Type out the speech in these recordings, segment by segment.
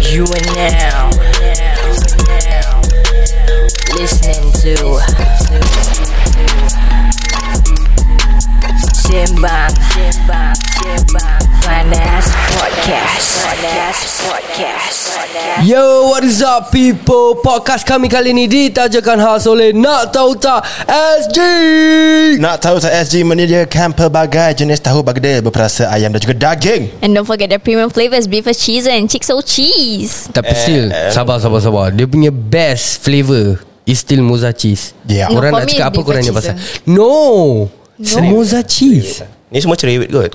You are now listening to Simbang Panas Podcast. Panas Podcast. Yo, what is up people? Podcast kami kali ini ditajakan khas oleh Nak Tahu Tak SG. Nak tahu tak SG menyediakan pelbagai jenis tahu bagedil berperasa ayam dan juga daging. And don't forget the premium flavors, beef with cheese and chicks cheese. Tapi still, Eh, sabar, sabar, sabar. Dia punya best flavour is still mozza cheese. Yeah. Korang nak No, for me, cakap apa different korang ni cheese pasal? No. no. Mozza cheese. Ni semua cerewet kot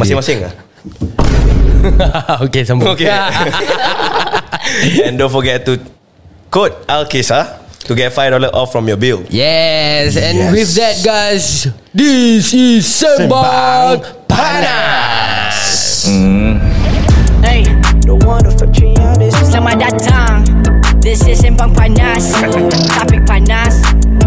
Masing-masing lah okay, sambung. Okay And don't forget to Code Alkisah To get $5 off from your bill Yes, and Yes. with that guys, this is Sembang, Sembang Panas. Hey, Selamat datang This is Sembang Panas Topik panas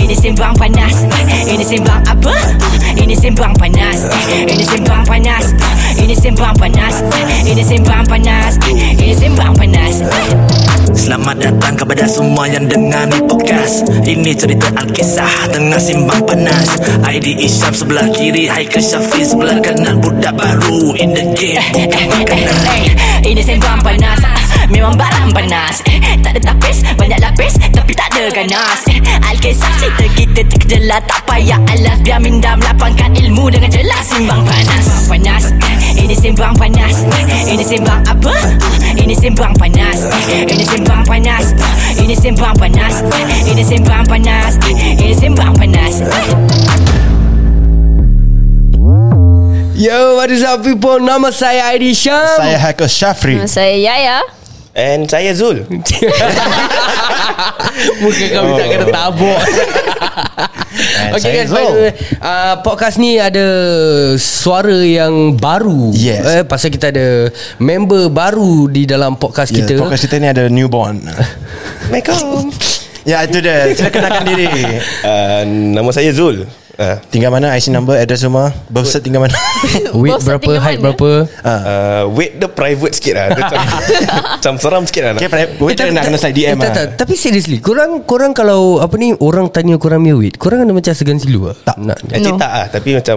Ini Sembang Panas Ini Sembang apa? Ini Sembang Panas Ini Sembang Panas Ini Sembang Panas Ini Sembang Panas Ini Sembang Panas Selamat datang kepada semua yang dengar ni podcast Ini cerita Alkisah tengah simbang panas ID Isyam sebelah kiri Haikal Syafiq sebelah kanan Budak baru in the game Bukan makanan Hey, Ini sembang panas Ah, Memang barang panas Eh, Tak ada tapis Banyak lapis Tapi tak ada ganas Eh, Alkisah cerita kita terkejelah Tak payah alas Biar minda melapangkan ilmu Dengan jelas Simbang panas Sembang panas Eh, Ini sembang panas Eh, Ini sembang apa? Ah, Ini sembang panas Eh, Ini sembang panas Ah, Ini sembang panas Eh, Ini sembang panas Eh, Ini sembang panas Eh. Yo, what is up people? Nama saya Aidy Syam. Saya Haikal Shafri. Nama saya Yaya. And saya Zul Muka kau minta kena Oh. tabuk And Okay saya guys by the Zul. way, uh, Podcast ni ada Suara yang baru Yes. eh, Pasal kita ada Member baru Di dalam podcast Yeah, kita Ya, podcast kita ni ada newborn. Assalamualaikum ya, itu dia. Sila kenalkan diri. uh, Nama saya Zul uh, Tinggal mana IC number, address rumah, birth cert tinggal mana? Weight Bosan berapa tinggal Height mana? berapa Ah. uh, Wait the private sikit lah Dia Macam, macam seram sikit lah okay, pri- wait Eh, tapi- nak kena slide eh, DM tak, lah. tak, Tapi seriously Korang korang kalau Apa ni Orang tanya korang punya weight Korang ada macam segan silu lah Tak nak, Actually No. tak lah Tapi macam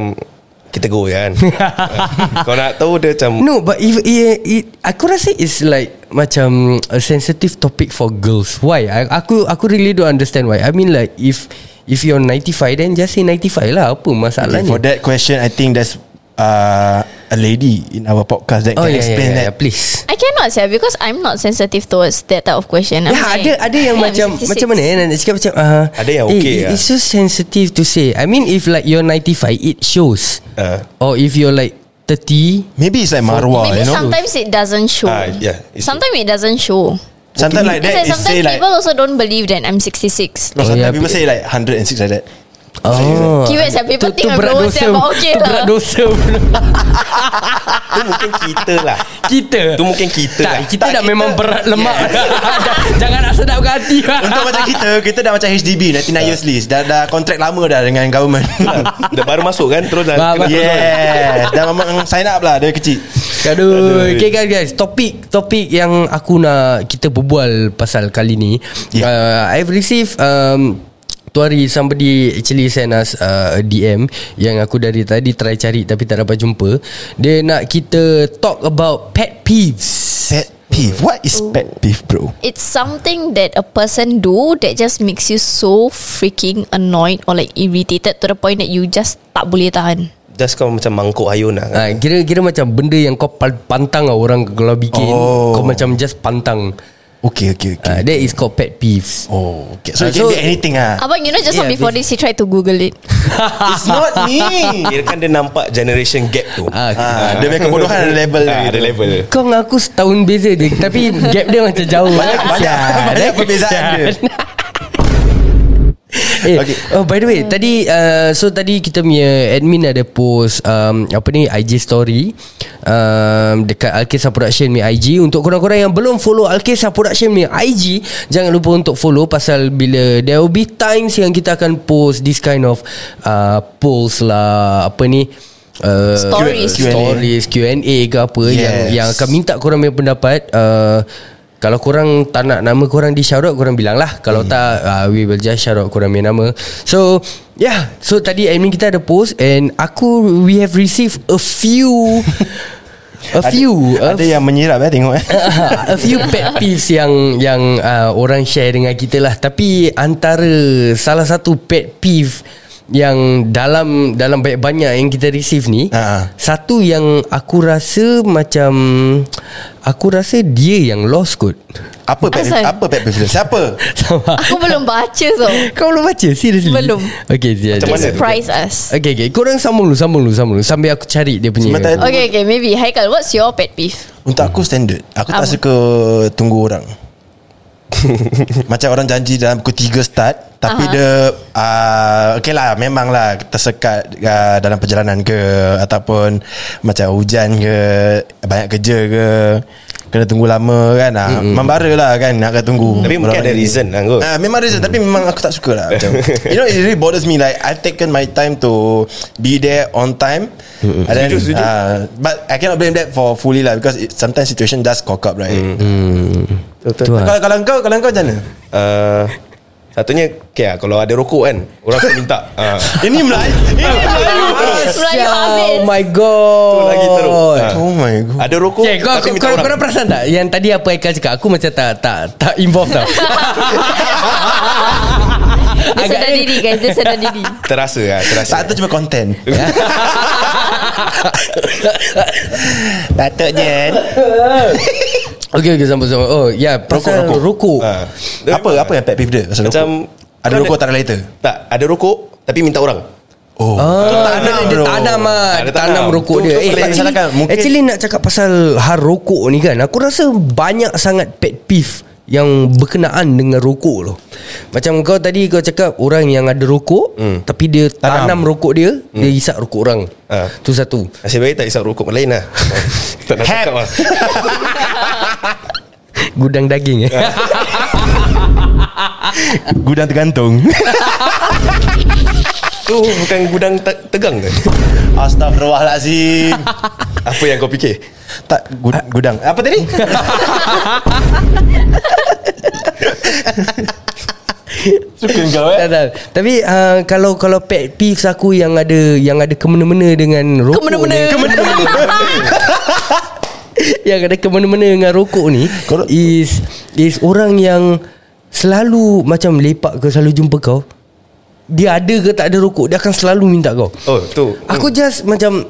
Kita go je kan uh, Kau nak tahu dia macam No but if, it, it, Aku rasa it's like Macam A sensitive topic for girls Why I, Aku aku really don't understand why I mean like If If you're 95 Then just say 95 lah Apa Okay, masalahnya for that question, I think that's uh, a lady in our podcast that Oh yeah, can yeah, explain yeah, yeah, that. please I cannot say because I'm not sensitive towards that type of question. I'm Ya like, ada ada yang yeah, macam 66. macam mana eh nak cakap macam uh, Ada yang okay eh, lah. It's so sensitive to say. I mean if like you're 95 it shows. Uh. Ah. Or if you're like 30 Maybe it's like Marwah, Maybe you know? sometimes it doesn't show. Ah, yeah, it's- sometimes it doesn't show. Sometimes like that, That's why it say sometimes like... people also don't believe that I'm 66. No, Oh, sometimes yeah, people pe- say like 106 like that. Oh. Kira saya people Tu- tu think I'm berat lower dosa. saya but okay Tu berat lah. dosa pula. Itu mungkin kita lah Kita Itu mungkin kita tak, lah kita Ya. dah memang berat lemak Jangan nak sedapkan hati Untuk macam kita Kita dah macam HDB 99 years lease Dah, dah kontrak lama dah Dengan government Dah baru masuk kan Terus dah Ah, Bah, bah. kena Yeah Dah memang sign up lah Dari kecil Aduh, okay guys guys, topik topik yang aku nak kita berbual pasal kali ni. Yeah. Yeah. Uh, I've received um tu hari somebody actually send us uh, a DM yang aku dari tadi try cari tapi tak dapat jumpa. Dia nak kita talk about pet peeves. Pet peeve What is pet peeve bro? It's something that a person do that just makes you so freaking annoyed or like irritated to the point that you just tak boleh tahan. Just kau macam mangkuk ayun lah Ha, kira kira macam benda yang kau pan- pantang lah orang kalau bikin oh. Oh. kau macam just pantang. Okay okay Uh, okay that is called pet peeves. Oh okay. Ah, Ah, So it can so- be anything lah Abang, you know just Yeah, now before this, he tried to Google it. It's not me Kira kan dia nampak generation gap tu Ah, Ah, Dia punya kebodohan ada level Ah, ada level Kau dengan aku setahun beza je Tapi gap dia macam jauh Banyak, banyak Kesian. perbezaan dia. eh, Okay. okay. Oh by the way Tadi uh, So tadi kita punya Admin ada post um, Apa ni IG story um, Dekat Alkisah Production ni IG Untuk korang-korang yang belum follow Alkisah Production ni IG Jangan lupa untuk follow Pasal bila There will be times Yang kita akan post This kind of uh, Polls lah Apa ni Uh, Stories. Q&A. Stories Q&A ke apa yes. yang, Yes. yang akan minta korang punya pendapat uh, Kalau korang tak nak nama korang di shout out Korang bilang lah Hmm. Kalau tak uh, We will just shout out korang punya nama So Yeah So tadi admin kita ada post And aku We have received a few A few a Ada yang menyirap eh tengok eh Ha, a few pet peeves yang yang uh, orang share dengan kita lah tapi antara salah satu pet peeve yang dalam dalam banyak-banyak yang kita receive ni Ha. satu yang aku rasa macam aku rasa dia yang lost kot Apa pet Asal? Apa pet peeve Siapa sama Aku belum baca tau kau belum baca seriously Belum. okey dia Dia Macam mana tu? surprise us okey okey korang sambung dulu sambung dulu sambung dulu sambil aku cari dia punya eh. Sementara- Okay okay maybe Haikal what's your pet peeve? Untuk aku standard Aku tak Apa? suka Tunggu orang Macam orang janji Dalam pukul 3 start Tapi Aha. dia uh, Okay lah Memang lah Tersekat uh, Dalam perjalanan ke Ataupun Macam hujan ke Banyak kerja ke Kena tunggu lama kan ah. Membara lah kan Nak kena tunggu Tapi mungkin Orang ada ni. reason lah kot. Ah, Memang reason Tapi memang aku tak suka lah macam, You know it really bothers me Like I've taken my time to Be there on time And then Setuju, setuju. ah, But I cannot blame that for fully lah Because it, sometimes situation does cock up right Mm. tu lah. Kalau, kalau kau Kalau kau macam mana? Uh, satunya okay, lah, Kalau ada rokok kan Orang akan minta uh, Ini Melayu Ini Melayu Melayu habis oh my god Tu lagi teruk. Ah. Oh my god Ada rokok Okay, kau, Tapi kau, minta kau, orang korang perasan tak Yang tadi apa Aikal cakap Aku macam tak Tak tak involved tau Dia sedar diri guys Dia sedar diri Terasa lah Terasa Saat tu cuma konten Datuk Jen Okay okay sama-sama Oh ya yeah, Pasal rokok. rokok, rokok. Eh. Ah. Dia Apa apa yang pet peeve dia Pasal Macam rokok Ada rokok tak ada lighter Tak Ada rokok Tapi minta orang Oh, tanam Ah, dia bro. tanam ah, Ah, dia dia tanam tanam. rokok Tu- dia. Eh, tu paling actually, disalahkan. Mungkin- actually nak cakap pasal hal rokok ni kan, aku rasa banyak sangat pet peeve yang berkenaan dengan rokok tu. Macam kau tadi kau cakap orang yang ada rokok tapi dia tanam, Tanam. rokok dia, dia isap rokok orang. Ah. Tu satu. Nasib baik tak isap rokok lain lah Tak nak cakap lah Gudang daging eh. Gudang tergantung Tu bukan gudang te- tegang ke Astaghfirullahalazim. Apa yang kau fikir tak gud- gudang. Apa tadi? Suka kau Tak, tak. Tapi uh, kalau kalau pet peeves aku yang ada yang ada kemena-mena dengan rokok Kemena-mena. ni. yang ada kemena-mena dengan rokok ni Kau- is is orang yang selalu macam lepak ke selalu jumpa kau. Dia ada ke tak ada rokok dia akan selalu minta kau. Oh tu Aku Hmm. just macam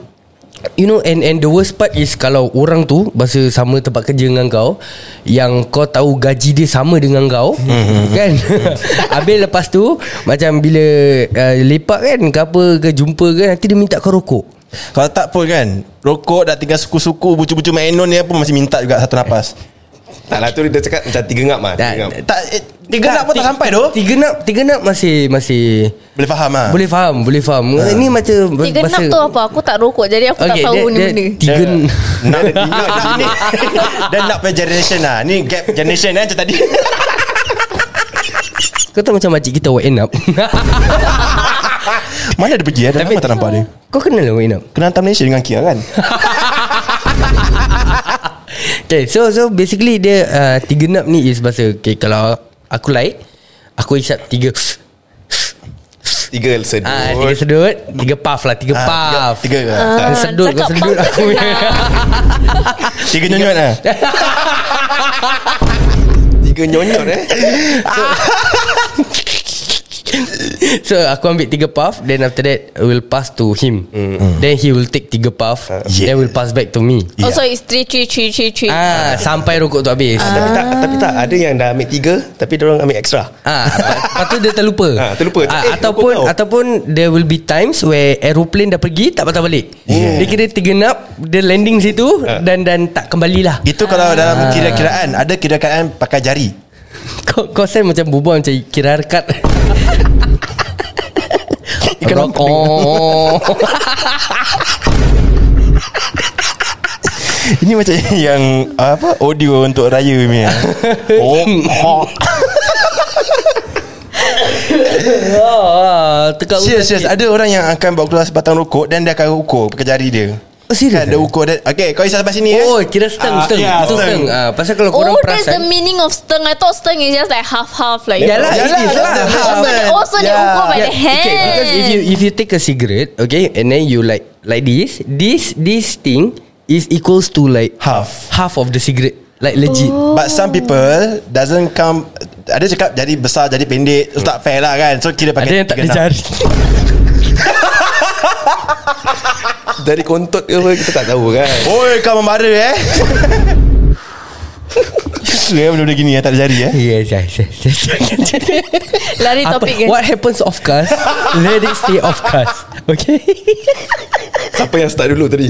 You know and and the worst part is Kalau orang tu Bahasa sama tempat kerja dengan kau Yang kau tahu gaji dia sama dengan kau Hmm. Kan Habis lepas tu Macam bila uh, Lepak kan Ke apa ke jumpa ke Nanti dia minta kau rokok Kalau tak pun kan Rokok dah tinggal suku-suku Bucu-bucu mainon dia pun Masih minta juga satu napas Tak lah tu dia cakap Macam tiga ngap lah tiga Tak- ngap. Tak eh, Tiga nak pun tak sampai doh. Tiga nak Tiga nak masih Masih Boleh faham ah. Boleh faham Boleh faham Ini macam Tiga nak bahasa- tu apa Aku tak rokok Jadi aku tak Okay, tahu dia- ni dia- Tiga benda Ya. Nak nak nak ni. Dan nak per generation lah. Ni gap generation eh macam tadi. Kau tahu macam makcik kita Wake up Mana dia pergi eh? Dah lama tak nampak dia. Kau kenal lah wake up Kena hantar Malaysia dengan Kia kan? Okay so so basically dia uh, Tiga nap ni is bahasa okay, Kalau aku like Aku isap tiga Tiga sedut ah, Tiga sedut Tiga puff lah Tiga Ah, puff Tiga Ah. ke? Kau sedut Kau cakap sedut puff aku je lah. punya Tiga nyonyot lah. Tiga nyonyot eh So aku ambil tiga puff Then after that I will pass to him Then he will take tiga puff Hmm. Ah, Yeah. Then will pass back to me Oh so it's three three three three three Ah, Sampai rokok tu habis Ah. Tapi tak Tapi tak Ada yang dah ambil tiga Tapi dia orang ambil extra Ah, lepas lepas tu dia terlupa. Ah, terlupa. Ah, Eh, ataupun rokok kau. ataupun there will be times where aeroplane dah pergi tak patah balik. Yeah. Dia kira tergenap, dia landing situ dan dan tak kembalilah. Itu kalau dalam kira-kiraan Ada kira-kiraan pakai jari Kau kau sen macam bubuh macam kira harkat. Ikan Rock lontong. on Ini macam yang apa audio untuk raya punya. oh, oh. Oh, Ah, Tekak Serius, serius. Ada orang yang akan bawa keluar sebatang rokok dan dia akan ukur pakai jari dia. Oh, serius Kan, dia eh? ukur dia. Okay, kau isap lepas sini Oh eh. kira steng Ah, steng ya, Itu steng. steng Ah, Pasal kalau korang Oh, that's the perasan meaning of steng. I thought steng is just like half-half. Like Yalah, it Yalah, is that's lah. the half, Also, they, man. also they Yeah. ukur by Yeah, the hand. Ya, Okay, because if you if you take a cigarette, okay, and then you like like this, this this thing is equals to like Half. half of the cigarette, like legit. Oh. But some people doesn't come ada cakap jadi besar jadi pendek so tak fair lah kan so kira Ada pakai yang tak tiga ada enam. jari. Dari kontot ke apa Kita tak tahu kan Oi kau membara eh Susah eh benda-benda gini eh tak ada jari eh Yes, yes, yes. yes. Lari Apa, topik kan. what happens off cast? Let it stay off cast. Okay. Siapa yang start dulu tadi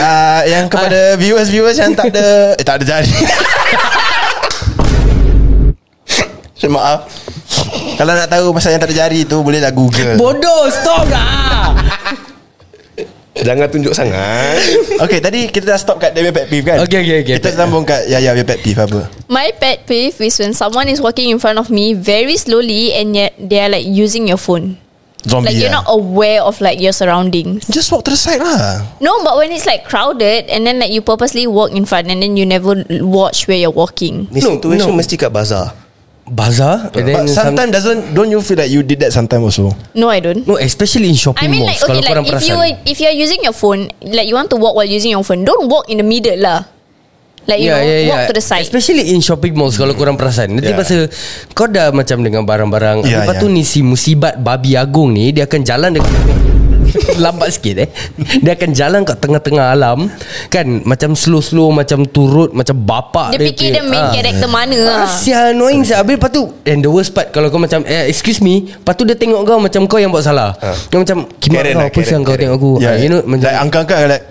Ah, Yang kepada viewers-viewers yang tak ada Eh tak ada jari Saya maaf ah. Kalau nak tahu pasal yang tak ada jari tu Bolehlah google Bodoh, stop lah. Jangan tunjuk sangat Okay tadi kita dah stop kat Demi Pet Peeve kan Okay, okay, okay. Kita sambung kat Yaya punya Pet Peeve apa My pet peeve is when someone is walking in front of me very slowly and yet they are like using your phone. Zombie Oh, Like you're lah. not aware of like your surroundings. Just walk to the side lah No, but when it's like crowded and then like you purposely walk in front and then you never watch where you're walking. Ni no, situation no. mesti kat bazar Bazaar. And then But sometimes. sometimes doesn't Don't you feel that you did that sometimes also No, I don't. No, especially in shopping I mean malls. like okay, kalau korang like if perasan. you were- if you're using your phone, like you want to walk while using your phone, don't walk in the middle lah. Like you know, walk to the side. Ya, Especially in shopping malls Kalau korang perasan Nanti Ya. yeah. Yeah. pasal Kau dah macam dengan barang-barang yeah, Yeah, Lepas yeah. tu yeah. ni si musibat babi agung ni Dia akan jalan dengan Lambat sikit eh Dia akan jalan kat tengah-tengah alam Kan Macam slow-slow Macam turut Macam bapak Dia fikir dia main character mana Ah, lah. Sial annoying sial Habis lepas tu And the worst part Kalau kau macam eh, Excuse me Lepas tu dia tengok kau Macam kau yang buat salah Dia macam Kimak kau Ah. Karen lah, Apa Karen, siang kau Karen. ya. tengok aku Ah, You know macam, Like angkat-angkat like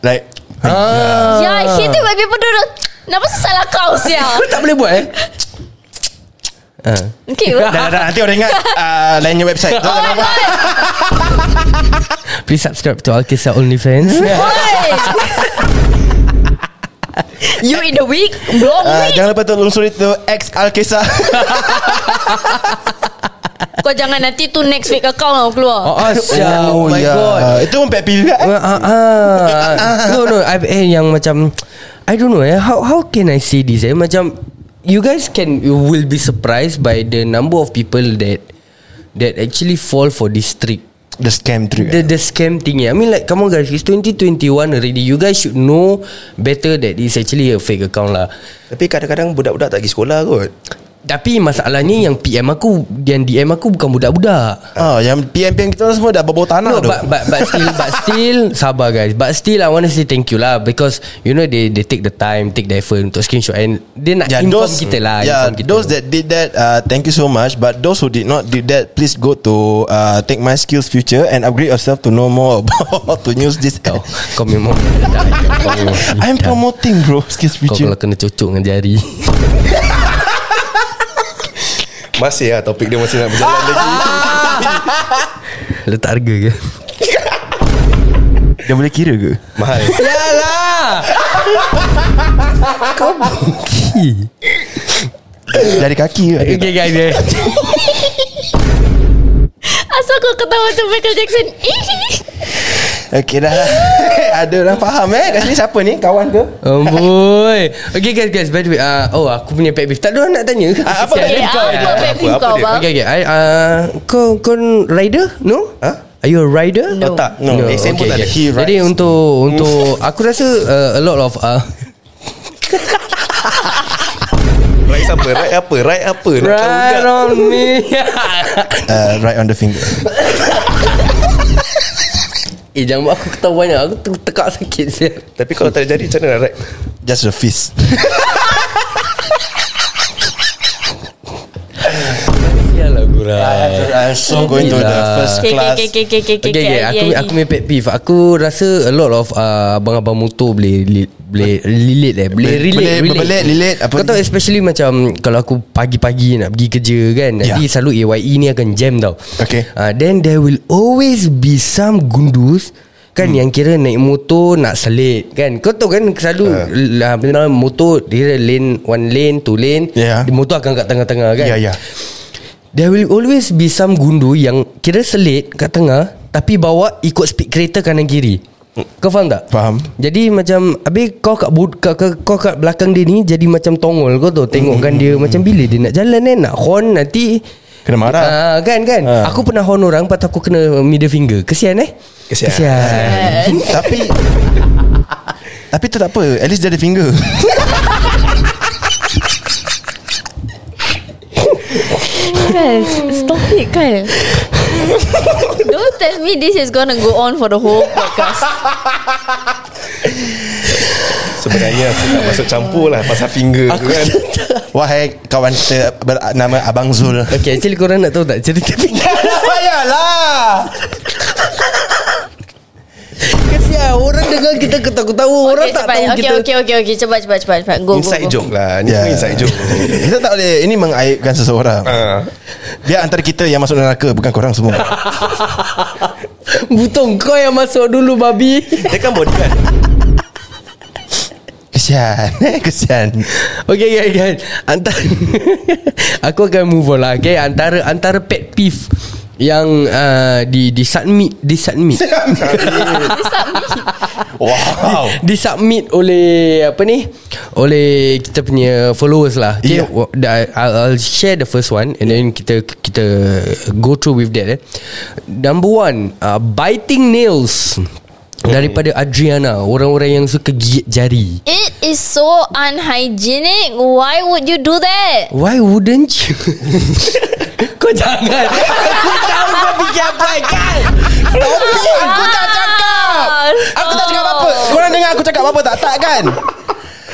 Like ah. Yeah, I hate it when people do the Kenapa salah kau siapa? Kau tak boleh buat eh Ah. Okay Dah, dah, nanti orang ingat uh, Lainnya website ah, tu, Oh my god Please subscribe to Alkisa OnlyFans. Oi. You in the week Long Ah, uh, week Jangan lupa telusuri tu Ex Alkisah Kau jangan nanti tu Next fake account kau keluar Oh, oh, sial. oh ya. my yeah. god. Itu pun pet peeve juga eh? Ah, ah, ah. No no I, eh, Yang macam I don't know eh How how can I say this eh Macam You guys can You will be surprised By the number of people that That actually fall for this trick The scam trick The the scam thing eh. I mean like Come on guys It's 2021 already You guys should know Better that it's actually a fake account lah Tapi kadang-kadang Budak-budak tak pergi sekolah kot Tapi masalahnya Yang PM aku Yang DM aku Bukan budak-budak Ah, yang PM-PM kita orang semua dah berbau tanah No, tu. but, but but still but still sabar guys. But still I want to say thank you lah because you know they they take the time, take the effort untuk screenshot and dia nak yeah, inform those, kita lah. Yeah, inform kita. Ya, those that did that, uh, thank you so much. But those who did not did that, please go to uh, take my skills future and upgrade yourself to know more about how to use this kau app. kau memang kau memang I'm promoting bro skills kau future. kalau kena cucuk dengan jari. Masih lah topik dia masih nak berjalan lagi Letak harga ke? Dia boleh kira ke? Mahal Yalah. kau bongki. Dari kaki ke? Okay guys. eh. Asal kau ketawa macam Michael Jackson Okay dah lah. Ada orang faham eh? Kat sini siapa ni? Kawan ke? Amboi. Okay guys guys by the way uh, oh aku punya pet beef. Tak ada orang nak tanya ke? Ah, apa Sial. Eh apa pet peeve apa kau dia? bang Okay, okay. I, uh, kau kau rider? No? Huh? Are you a rider? Oh tak No. Eh, Sam pun tak ada He Jadi rides. untuk untuk aku rasa uh, a lot of uh, Right apa Right apa Right apa Nak tahu right tak? on me. Uh, right on the finger. eh jangan buat aku ketahuan lah. aku ter- tekak sakit saya. Tapi kalau tak jadi Macam mana nak right Just the fist. Sial lah aku lah. I, I, I'm so going to the Yelah. first Okay, class. okay, okay, okay, okay, Okay, okay, aku okay. aku punya pet peeve. Aku rasa a lot of uh, abang-abang motor boleh li- boleh relate eh. Boleh Boleh- relate. boleh berbelit, relate, apa Kau tahu especially macam kalau aku pagi-pagi nak pergi kerja kan. Nanti Yeah. selalu AYE ni akan jam tau. Ya. Okay. Uh, then there will always be some gundus kan hmm. yang kira naik motor nak selit kan kau tahu kan selalu Ya. uh. uh, motor dia lane one lane two lane Yeah. Dia motor akan kat tengah-tengah kan Ya, ya. There will always be some gundu yang kira selit kat tengah tapi bawa ikut speed kereta kanan kiri. Kau faham tak? Faham. Jadi macam Habis kau kat, bud, kau, kau, kau kat belakang dia ni Jadi macam tongol kau tu Tengokkan dia Macam bila dia nak jalan eh Nak horn nanti Kena marah. Ah, Kan kan Ah. Aku pernah horn orang Lepas tu aku kena middle finger Kesian eh Kesian. Kesian. Uh, Tapi Tapi tu tak apa At least dia ada finger Kyle, stop it Kyle. Don't tell me this is gonna go on for the whole podcast. Sebenarnya aku tak masuk campur lah Pasal finger aku kan Wahai kawan kita Bernama Abang Zul Okay actually korang nak tahu tak Cerita finger Tak payahlah Kesian Orang dengar kita ketawa-ketawa Orang tak cepat. tahu okay, kita okay, okay, okay. Cepat, cepat, cepat, cepat. Go, go, Inside go. joke lah Ni semua inside joke Kita tak boleh Ini mengaibkan seseorang Ah. Dia antara kita yang masuk neraka Bukan korang semua Butong kau yang masuk dulu babi Dia kan bodyguard Kesian eh? Kesian Okay guys, guys. Antara Aku akan move on lah Okay Antara Antara pet peeve Yang uh, Di Di submit Di submit Wow Di submit oleh Apa ni Oleh Kita punya followers lah Okay Yeah. yeah. I'll, I'll share the first one And then kita Kita Go through with that eh. Number one uh, Biting nails Oh. Daripada Adriana Orang-orang yang suka gigit jari It is so unhygienic. Why would you do that? Why wouldn't you? kau jangan. Aku tahu kau fikir apa kan. Aku tak cakap Ah, Aku tak cakap apa-apa Korang dengar aku cakap apa-apa tak Tak kan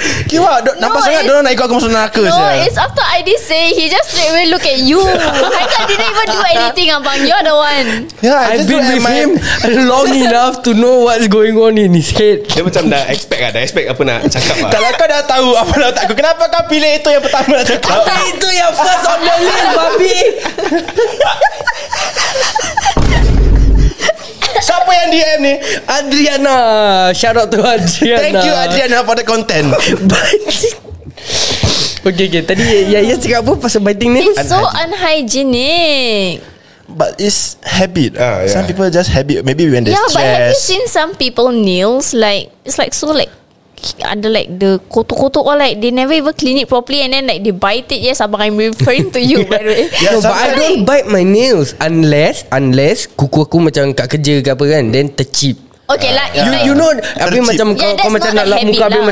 Kiwa do, Nampak No, sangat it's- Diorang nak ikut aku masuk neraka No, saja. it's after I did say He just straight away look at you Haikal didn't even do anything Abang You're the one yeah, I I've just been with look at Ya, my- him long enough to know what's going on in his head. Dia macam dah expect lah Dah expect apa nak cakap lah Kalau kau dah tahu Apa nak tak aku Kenapa kau pilih itu yang pertama lah nak cakap Itu yang first on the list, babi. Siapa yang DM ni Ah, Adriana. Shout out to Adriana. Thank you Adriana for the content Okay, okay. Tadi Yaya cakap apa pasal biting nails? It's so unhygienic But it's habit Ah, ah, yeah. Some people just habit Maybe when they're Yeah Ya, but have you stressed seen Some people nails Like It's like so like ada like the kotok-kotok or like they never even clean it properly and then like they bite it yes abang I'm referring to you by the way Yeah, no, but I sometimes- don't bite my nails unless unless kuku aku macam kat kerja ke apa kan then tercip. okay lah it's like, You, you know Habis Tercip. macam Yeah, yeah, Kau, kau that's macam not nak a lap habit muka Habis lah.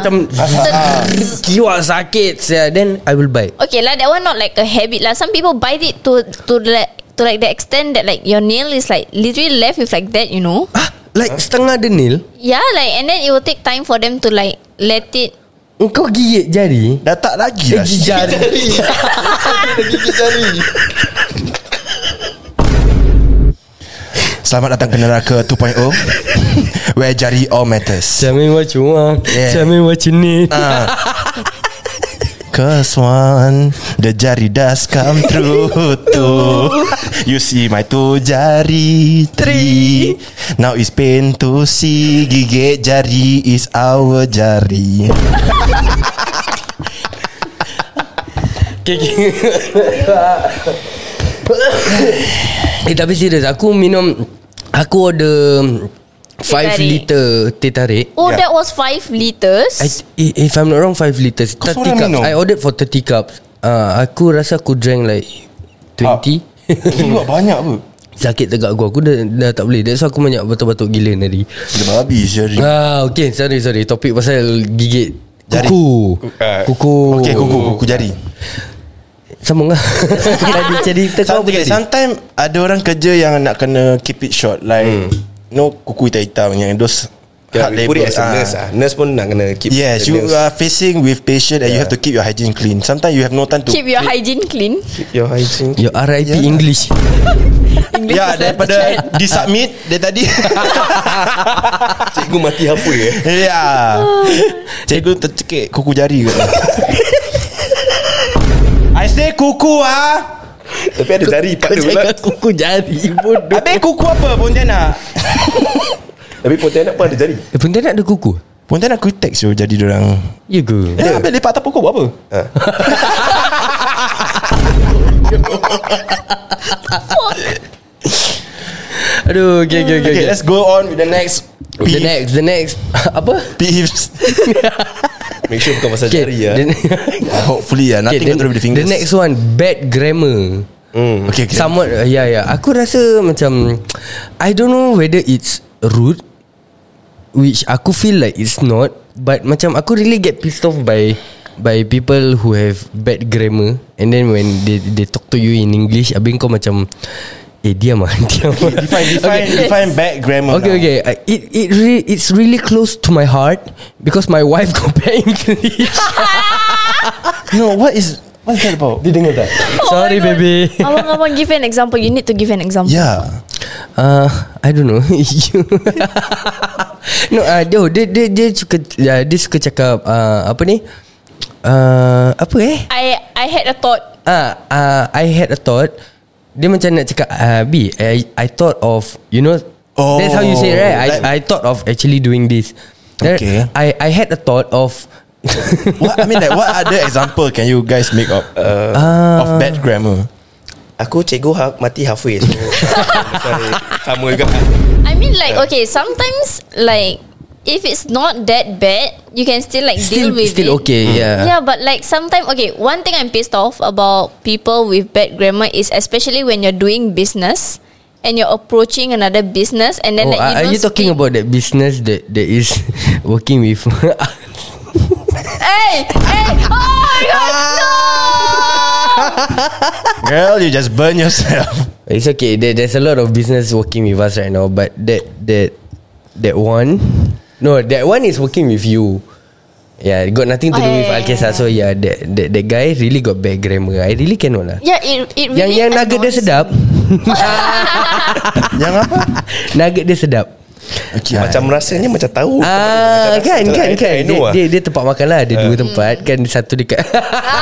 macam Kiwa sakit sia. Then I will bite Okay lah, that one not like a habit lah. Some people bite it to to like to like the extent that like your nail is like literally left with like that, you know? Ah, Like setengah denil Yeah, like and then it will take time for them to like let it. Kau gigit jari Dah tak lagi Eh lah jari Gigit jari Selamat datang ke neraka 2.0 Where jari all matters Tell me what you want Yeah. Tell me what you need Ah. Cause one The jari does come true too You see my two jari Three Now it's pain to see Gigit jari is our jari Okay, okay. Eh tapi serius Aku minum Aku order 5 tarik. liter teh tarik Oh, that was five liters. I, i- if I'm not wrong 5 liters Kau 30 seorang cups minum? I ordered for 30 cups uh, Aku rasa aku drank like 20 Gila banyak apa Sakit tegak aku Aku dah, dah tak boleh That's why aku banyak batuk-batuk gila tadi Gila babi jari Ah, Okay sorry sorry Topik pasal gigit Jari. Kuku Ah. Kuku Okay kuku kuku jari Sambung lah Tadi cerita kau apa Sometimes, tadi sometimes Hmm. ada orang kerja yang nak kena keep it short like no kuku hitam-hitam yang those Yeah, we put it as a ah. nurse ah. Nurse pun nak kena keep Yes, the you nails. are facing with patient and you have Yeah. to keep your hygiene clean. Sometimes you have no time to Keep your hygiene clean your hygiene. Your RIP Yeah. English English Ya, is a daripada disubmit dia tadi. Cikgu mati apa ya? ya. Cikgu tercekik kuku jari ke. I say kuku ah. Tapi ada jari part dia pula. Jangan kuku jari Bodoh Habis kuku apa Pontianak? Tapi Pontianak pun ada jari. Eh benda nak ada kuku Pontianak aku text yo jadi orang. Ya ke Eh, habis lepak atas pokok buat apa? Aduh okay okay okay, Okay, okay. let's go on with the next The next The next Apa Peeves Make sure bukan pasal Okay, jari ya. the, Hopefully lah Nothing okay, okay, the, control with the the fingers next one Bad grammar mm, Okay, okay. Somewhat uh, Ya yeah, ya yeah. Aku rasa macam I don't know whether it's rude Which aku feel like it's not But macam aku really get pissed off by By people who have bad grammar And then when they they talk to you in English Abang kau macam Eh diam lah Diam lah Define, define, okay. define bad grammar Okay, now. okay. Uh, it it re- it's really close to my heart because my wife got bad English. No, what is What's that about? Dia dengar tak? Sorry, my God. baby. Abang-abang give an example You need to give an example Yeah Uh, I don't know. You- no, uh, dia, dia dia dia suka uh, dia suka cakap uh, apa ni? Uh, apa eh? I I had a thought Ah, uh, I had a thought. Dia macam nak cakap uh, B, I, I thought of you know Oh, that's how you say it, right? I like- I thought of actually doing this. Then Okay. I I had a thought of What I mean like What other example Can you guys make up uh, Of bad grammar Aku cikgu ha- mati halfway so sorry. sama juga. I mean like Okay sometimes Like If it's not that bad You can still like still Deal with still it okay, yeah. Yeah, but like sometimes, okay, one thing I'm pissed off about people with bad grammar is especially when you're doing business and you're approaching another business and then Oh, like you are don't you talking speak- about that business that that is working with? Hey, hey! Oh my god, Ah! no! Girl, you just burn yourself it's okay. There, there's a lot of business working with us right now, but that that that one, no, that one is working with you. Yeah, it got nothing to Oh, do yeah, with yeah, Alkesa. So yeah, that, that that guy really got bad grammar. I really cannot lah. Yeah, it it really yang yang nugget dia annoys- sedap, Yang apa? Ah, nugget dia sedap. Okay, Macam rasanya macam tahu. Ah, Macam kan rasa- kan I- kan. I Dia, know Ah. lah. dia, dia tempat makan lah. Ada dua tempat kan. Satu dekat.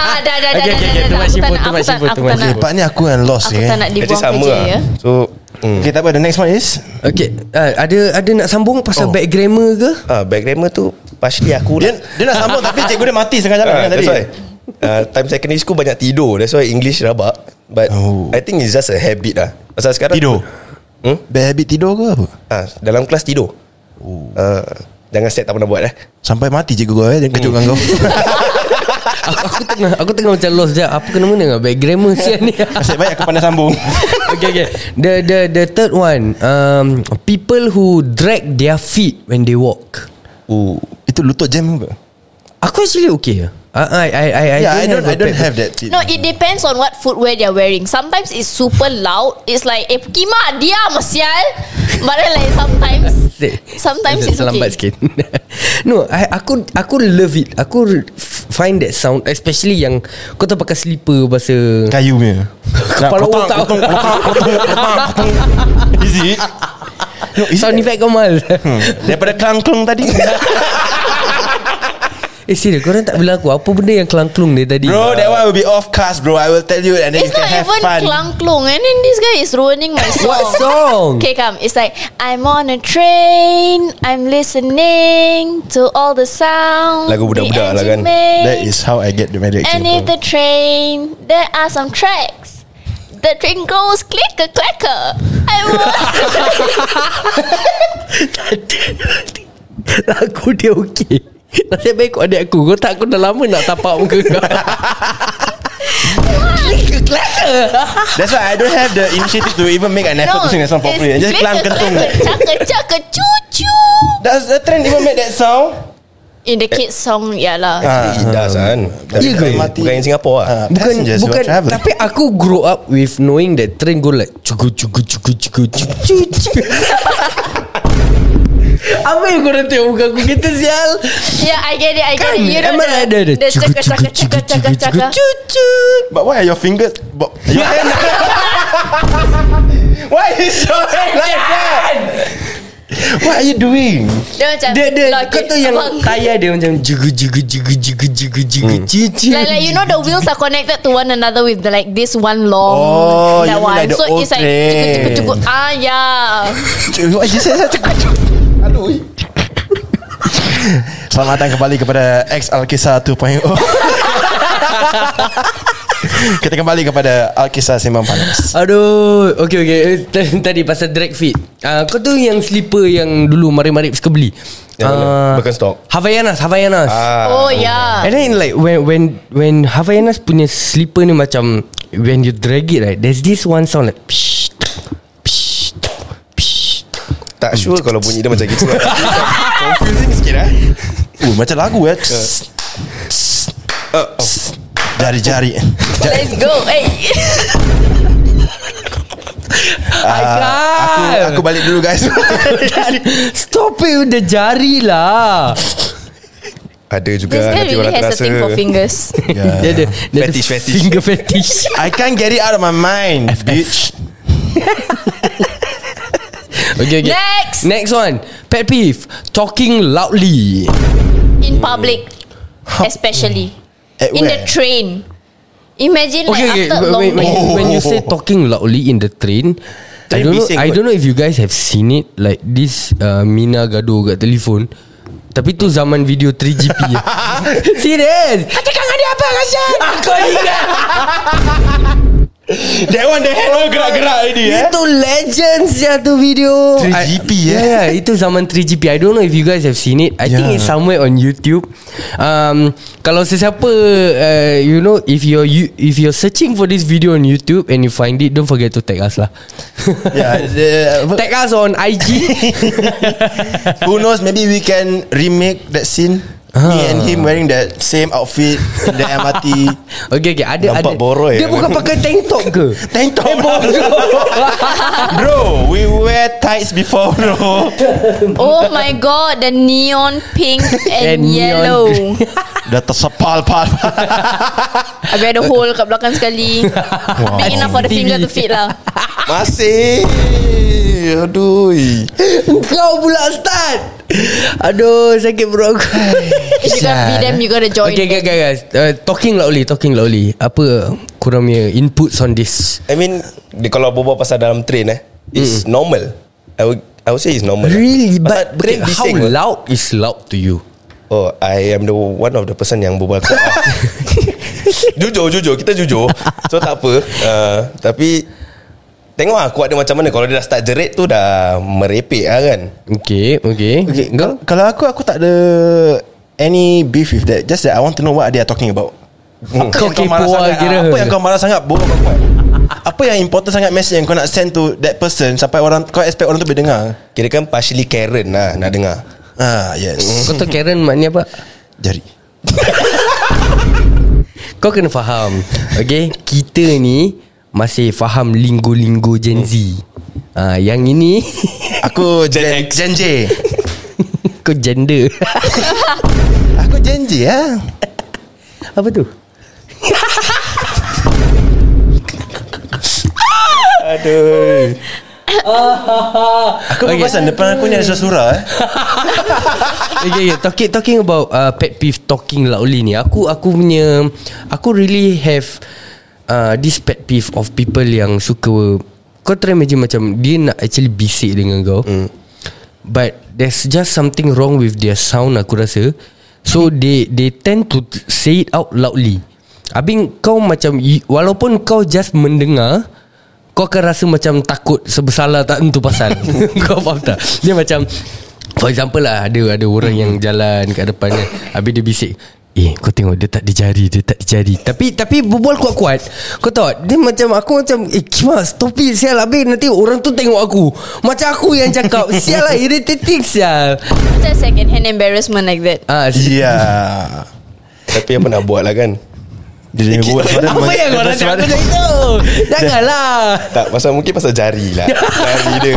Ah, dah dah Okay, okay, dah dah, dah, okay. dah, Too dah. much Aku info, tak nak- too aku much tak- info, aku too tak much nak- info. Part ni aku yang lost Aku tak nak Actually dibuang sama kerja lah. ya. So mm. Okay, tak apa The next one is Okay, ah, ada ada nak sambung pasal Oh. bad grammar ke? ah, back grammar tu partially aku dia, lah. dia nak sambung Tapi cikgu dia mati Setengah jalan Ah, kan tadi that's why. Uh, time secondary school banyak tidur That's why English rabak But Oh. oh. I think it's just a habit lah Pasal sekarang Tidur Hmm? Bad habit tidur ke apa? Ah, Dalam kelas tidur uh, Jangan set tak pernah buat eh Sampai mati cikgu kau eh Dia kejutkan kau aku, aku tengah aku tengah macam lost je. Apa kena mengena dengan bad grammar sian ni? Nasib baik aku pandai sambung okay, okay. The the the third one, um, people who drag their feet when they walk. Ooh. Itu lutut jam ke? Aku actually okay. I I I I, yeah, I don't, I a don't pet- have that tip. No, it depends on what footwear they're wearing. Sometimes it's super loud. It's like, eh, kima dia sial. But then like sometimes, sometimes it's Selambat sikit okay. No I, Aku Aku love it Aku re- find that sound Especially yang Kau tahu pakai slipper Bahasa Kayu punya Kepala otak. Kotong kotong kotong kotong kotong Is it? No, is Sound it? Hmm. effect kau mal Daripada kelangklung tadi Eh serius korang tak bilang aku Apa benda yang kelangklung dia tadi Bro that one will be off cast bro I will tell you And then It's you can not have even fun klangklung. And then this guy is ruining my song. What song? Okay, come. It's like, I'm on a train. I'm listening to all the sound. Lagu budak-budak lah kan. That is how I get the medic And in the train, there are some tracks. The train goes clicker clacker. I'm on Lagu dia okey Nasib baik kau adik aku Kau tak aku dah lama nak tapak muka kau That's why I don't have the initiative To even make an effort To sing that song properly I Just kelang kentung Caka caka cu cu. Does the trend even make that sound? In the kids song, ya lah. It does kan Ya ke? Bukan yang Singapore lah Ah, Bukan passengers who bukan are travelling. Tapi aku grow up With knowing that Train go like Cugu cugu cugu cugu cugu cugu Apa yang korang tengok muka aku Kita sial Yeah, Ya, I get it, I get Kan it. You know Emang the, ada ada the cakap, cakap, cakap, cakap, cakap. cucut But why are your fingers but Your hand Why is your hand like that What are you doing Dia macam, Dia dia logic. Kau tahu yang Abang. Tayar dia macam Jugu jugu jugu jugu jugu jugu Cucut Like, like you know the wheels are connected to one another with the, like this one long Oh, you that mean one. like the so old it's like train. cukup cukup cukup. Ah yeah. What you say Aduh Selamat datang kembali kepada X Alkisah 2.0 oh. Kita kembali kepada Alkisah Sembang Panas Aduh Okay okay Eh, t- Tadi pasal drag fit uh, Kau tahu yang slipper Yang dulu marip-marip suka beli Yang mana? Ah, Birkenstock. Ah. Havaianas Havaianas oh yeah. And then like when when when Havaianas punya slipper ni macam when you drag it right, there's this one sound like psh, psh, psh. Tak sure kalau bunyi dia macam gitu lah. Confusing sikit eh Uh, macam lagu eh Uh, oh. Jari-jari Let's go. Hey. Ah, Aku aku balik dulu guys Ah, Stop it with the jari lah. Ada juga This guy Nanti really orang has a terasa thing for fingers. Dia ada dia ada Ya. Fetish, fetish. finger fetish. I can't get it out of my mind Bitch okay, okay. Next. Next one. Pet peeve, talking loudly. In public especially. At In where? the train. Imagine like Okay, okay. after a When, long when, when, night. when you say talking loudly in the train, I Train don't know. bising I kot. don't know if you guys have seen it. Like this uh, Mina gaduh kat telefon. Tapi tu zaman video 3GP ya. Serius Kau cakap dengan dia apa Kasyan Aku ingat That Eh, one the hand all Oh, gerak-gerak ini Itu legends ya tu video 3GP, I- eh? yeah, yeah, Itu zaman 3GP I don't know if you guys have seen it I yeah. think Yeah. it's somewhere on YouTube um, Kalau sesiapa uh, You know If you're you, If you're searching for this video on YouTube And you find it Don't forget to tag us lah yeah, the- Tag us on IG Who knows Maybe we can remake that scene Me and him wearing that same outfit In the MRT Okay okay ada, Nampak ada. boroi. Dia bukan pakai tank top ke Tank top Bro We wear tights before bro Oh my god, the neon pink and, And neon yellow. green. Dah tersepal pal Habis ada hole kat belakang sekali. Big enough for the TV. finger to fit lah. Masih Aduh Kau pula start Aduh sakit perut aku If you gotta be them, you gotta join Okay them. guys, guys, guys. Uh, Talking loudly Talking loudly Apa Korang punya inputs on this I mean dia Kalau berbual pasal dalam train eh It's normal I would I would say it's normal lah. Really Pasal But, but train how bising lah. loud is loud to you Oh I am the One of the person yang berbual keluar Jujur jujur Kita jujur So tak apa uh, Tapi Tengok lah kuat dia macam mana Kalau dia dah start jerit tu Dah merepek lah kan Okay Okay, okay Okay, Kau kalau, kalau aku aku tak ada any beef with that. Just that I want to know what they are talking about. Apa Kau yang Hmm. kau marah kepo lah sangat? kira. Apa yang kau marah sangat? Bohong kau buat. Apa yang important sangat message yang kau nak send to that person sampai orang kau expect orang tu boleh dengar? Kira kan partially Karen lah Nak dengar Ah, yes. Kau tahu Karen maknanya apa Jadi Kau kena faham Okay Kita ni Masih faham Linggo-linggo Gen Z Ah, Yang ini aku Gen, Gen J. Kau gender Aku Gen J ah. Apa tu Aduh Aku okay. perasan depan aku ni ada surah eh. Okay, okay. Eh, ya, Talking, talking about uh, pet peeve talking loudly ni. Aku aku punya aku really have uh, this pet peeve of people yang suka kau try imagine macam dia nak actually bisik dengan kau. Mm. But there's just something wrong with their sound aku rasa. So they they tend to say it out loudly. Abang kau macam y- walaupun kau just mendengar kau akan rasa macam takut sebesalah tak tentu pasal. kau faham tak? Dia macam For example lah Ada ada orang yang jalan Kat depan kan Habis dia bisik Eh kau tengok Dia tak ada jari Dia tak ada jari Tapi tapi berbual kuat-kuat Kau tahu tak? Dia macam Aku macam Eh Kima stop it sial Habis nanti orang tu tengok aku Macam aku yang cakap Sial lah irritating sial Macam second hand embarrassment like that. Ah, Ya. yeah. Tapi apa nak buat lah kan Dia Dikit. buat Apa yang kau nak cakap macam itu Janganlah Tak pasal mungkin pasal jari lah Jari dia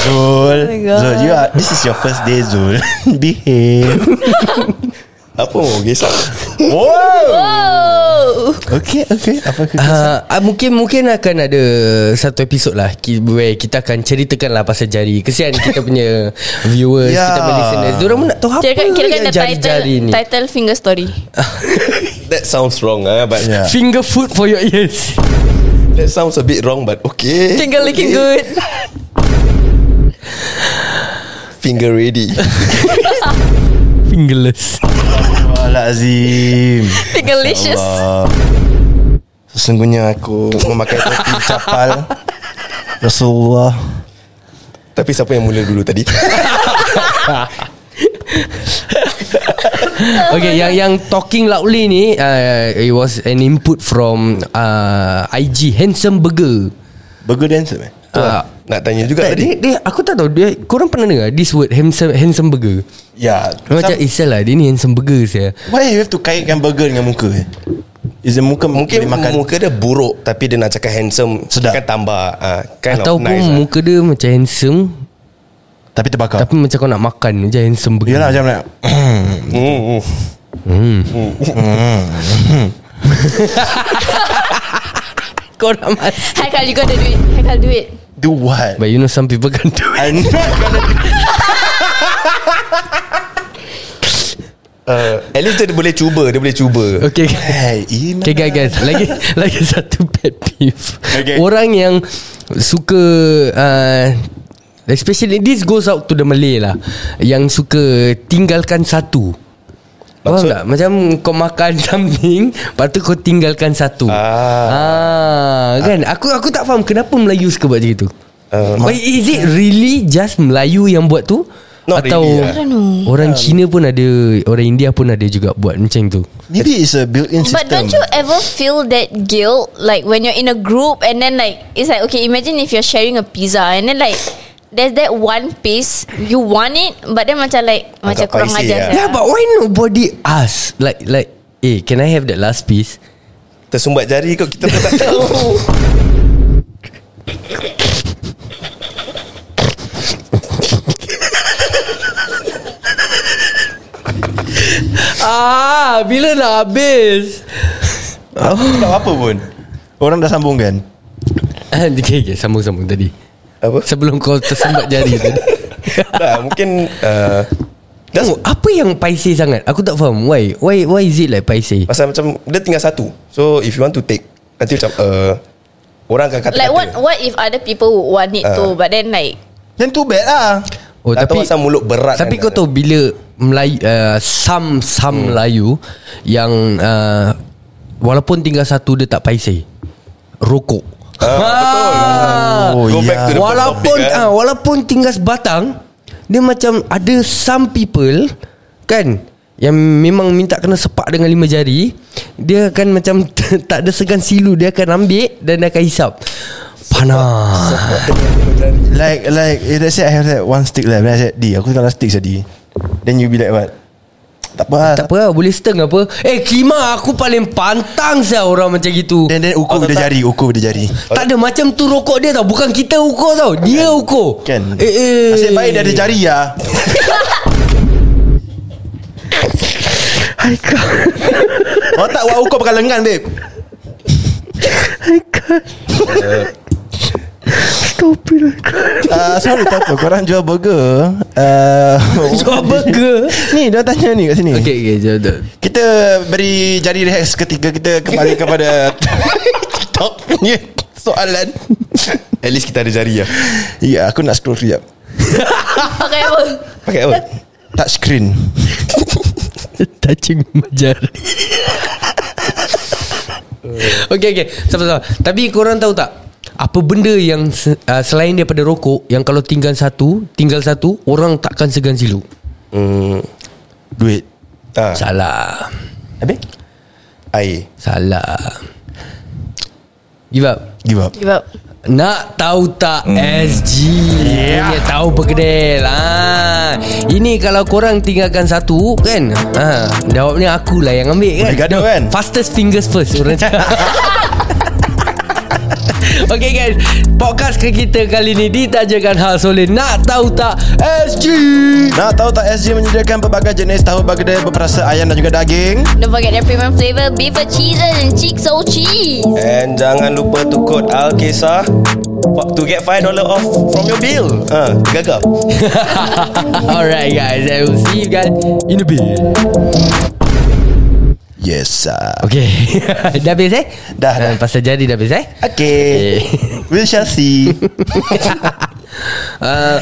Zul Zul you are, This is your first day Zul Behave Apa mau kisah Wow Ah. Oh. Okay okay Apa aku Uh, mungkin mungkin akan ada satu episod lah ki- where kita akan ceritakan lah pasal jari. Kesian kita punya viewers, Ya. kita punya listeners. Diorang pun nak tahu apa Kira-kira, kira yang the title, jari-jari ni. title finger story. That sounds wrong eh, But Yeah. yeah. Finger food for your ears. That sounds a bit wrong But okay Finger looking good. Finger ready Fingerless. Alazim Fingerlicious. Allah Uh, Sesungguhnya aku Memakai topi capal Rasulullah Tapi siapa yang mula dulu tadi Okay, yang yang talking loudly ni uh, it was an input from uh, IG Handsome Burger. Burger eh? dancer man Uh, Nak tanya juga tak, dia, tadi dia, aku tak tahu dia korang pernah dengar this word handsome handsome burger. Ya Macam Some- Isel lah Dia ni handsome burger saya Why you have to kaitkan burger dengan muka eh? Is the muka Mungkin boleh makan muka dia buruk Tapi dia nak cakap handsome Sedap. Kan tambah uh, Kind Ataupun of nice lah. muka dia macam handsome Tapi terbakar Tapi macam kau nak makan je handsome burger Yelah macam nak Mm, mm. Kau nak makan Haikal, you gotta do it. Haikal, do it. Do what? But you know some people can do it I'm not gonna uh, At least dia boleh cuba Dia boleh cuba Okay Hey, Iman. Okay guys, guys. Lagi lagi satu pet peeve Okay. Orang yang Suka uh, Especially This goes out to the Malay lah Yang suka Tinggalkan satu Faham Maksud- tak? Macam kau makan something Lepas tu kau tinggalkan satu ah. Kan Aku aku tak faham Kenapa Melayu suka buat macam itu uh, Is it really Just Melayu yang buat tu Not Atau really, Um. I don't know. Orang Cina pun ada Orang India pun ada juga Buat macam tu Maybe it's a built-in system. But don't you ever feel that guilt like when you're in a group and then like it's like okay, imagine if you're sharing a pizza and then like there's that one piece you want it but then macam like macam Agak kurang pricey, ajar. yeah. sia. Yeah, but why nobody ask? Like, like, eh, can I have that last piece? Tersumbat jari kau Kita pun tak tahu Ah, bila nak habis? Oh. Aku tak tahu apa pun. Orang dah sambung kan? okay, okay, sambung-sambung tadi. Apa? Sebelum kau tersumbat jari tadi. tak, Mungkin uh, That's Oh, apa yang paiseh sangat? Aku tak faham. Why? Why why is it like paiseh? Pasal macam Dia tinggal satu So if you want to take Nanti macam uh, Orang akan kata-kata Like what what if other people would want it Uh. too but then like Then too bad lah. Oh, Tak tahu pasal mulut berat Tapi kan. kau tahu bila Melayu uh, some some hmm. Melayu yang uh, walaupun tinggal satu dia tak paiseh. Rokok. Ah, betul. Oh, Go yeah. back to walaupun the first topic, eh. kan? ah, walaupun tinggal sebatang dia macam ada some people kan yang memang minta kena sepak dengan lima jari dia akan macam tak ada segan silu dia akan ambil dan dia akan hisap panas Like like eh, let's say I have that one stick left. Then I said, D, aku tak ada stick jadi. Then you be like what? Tak apa lah. tak apa lah, boleh steng apa eh kima aku paling pantang saya orang macam gitu Then then ukur dia jari, ukur dia jari. tak ada macam tu rokok dia tau Bukan kita ukur tau Dia ukur Kan? Eh eh Nasib baik dia ada jari lah. Haikal. Oh tak wak ukur pakai lengan babe. Haikal. Stop it Haikal. Uh, sorry tak apa Korang jual burger uh, Jual burger? Ni dia tanya ni kat sini Okay okay jom, jom. Kita beri jari rehat seketika Kita kembali kepada Top punya soalan kan? At least kita ada jari lah Ya aku nak scroll sekejap pakai apa? Pakai apa? Touch screen Touching jari Okay okay Sama-sama Tapi korang tahu tak Apa benda yang se- uh, Selain daripada rokok Yang kalau tinggal satu Tinggal satu Orang takkan segan silu Hmm, Duit ah, Salah Habis? Air Salah Give up Give up Give up. Nak tahu tak hmm. SG Ya. yeah. Ini tahu perkedel ha. Ini kalau korang tinggalkan satu kan ha. Jawabnya akulah yang ambil kan Boleh gaduh, kan? Fastest fingers first Orang cakap Okay guys Podcast ke kita kali ni Ditajakan khas oleh Nak tahu tak SG Nak tahu tak SG menyediakan pelbagai jenis tahu bagedel berperasa ayam dan juga daging? Don't forget their premium flavour Beaver cheeses and cheek so cheese And jangan lupa to code Alkisah for- to get $5 off from your bill. Ah, Ha, gagap. Alright guys I will see you guys In a bit Yes sir. Okay Dah habis eh Dah, dah. Eh, Pasal jadi dah habis eh Okay. Eh. We shall see. uh,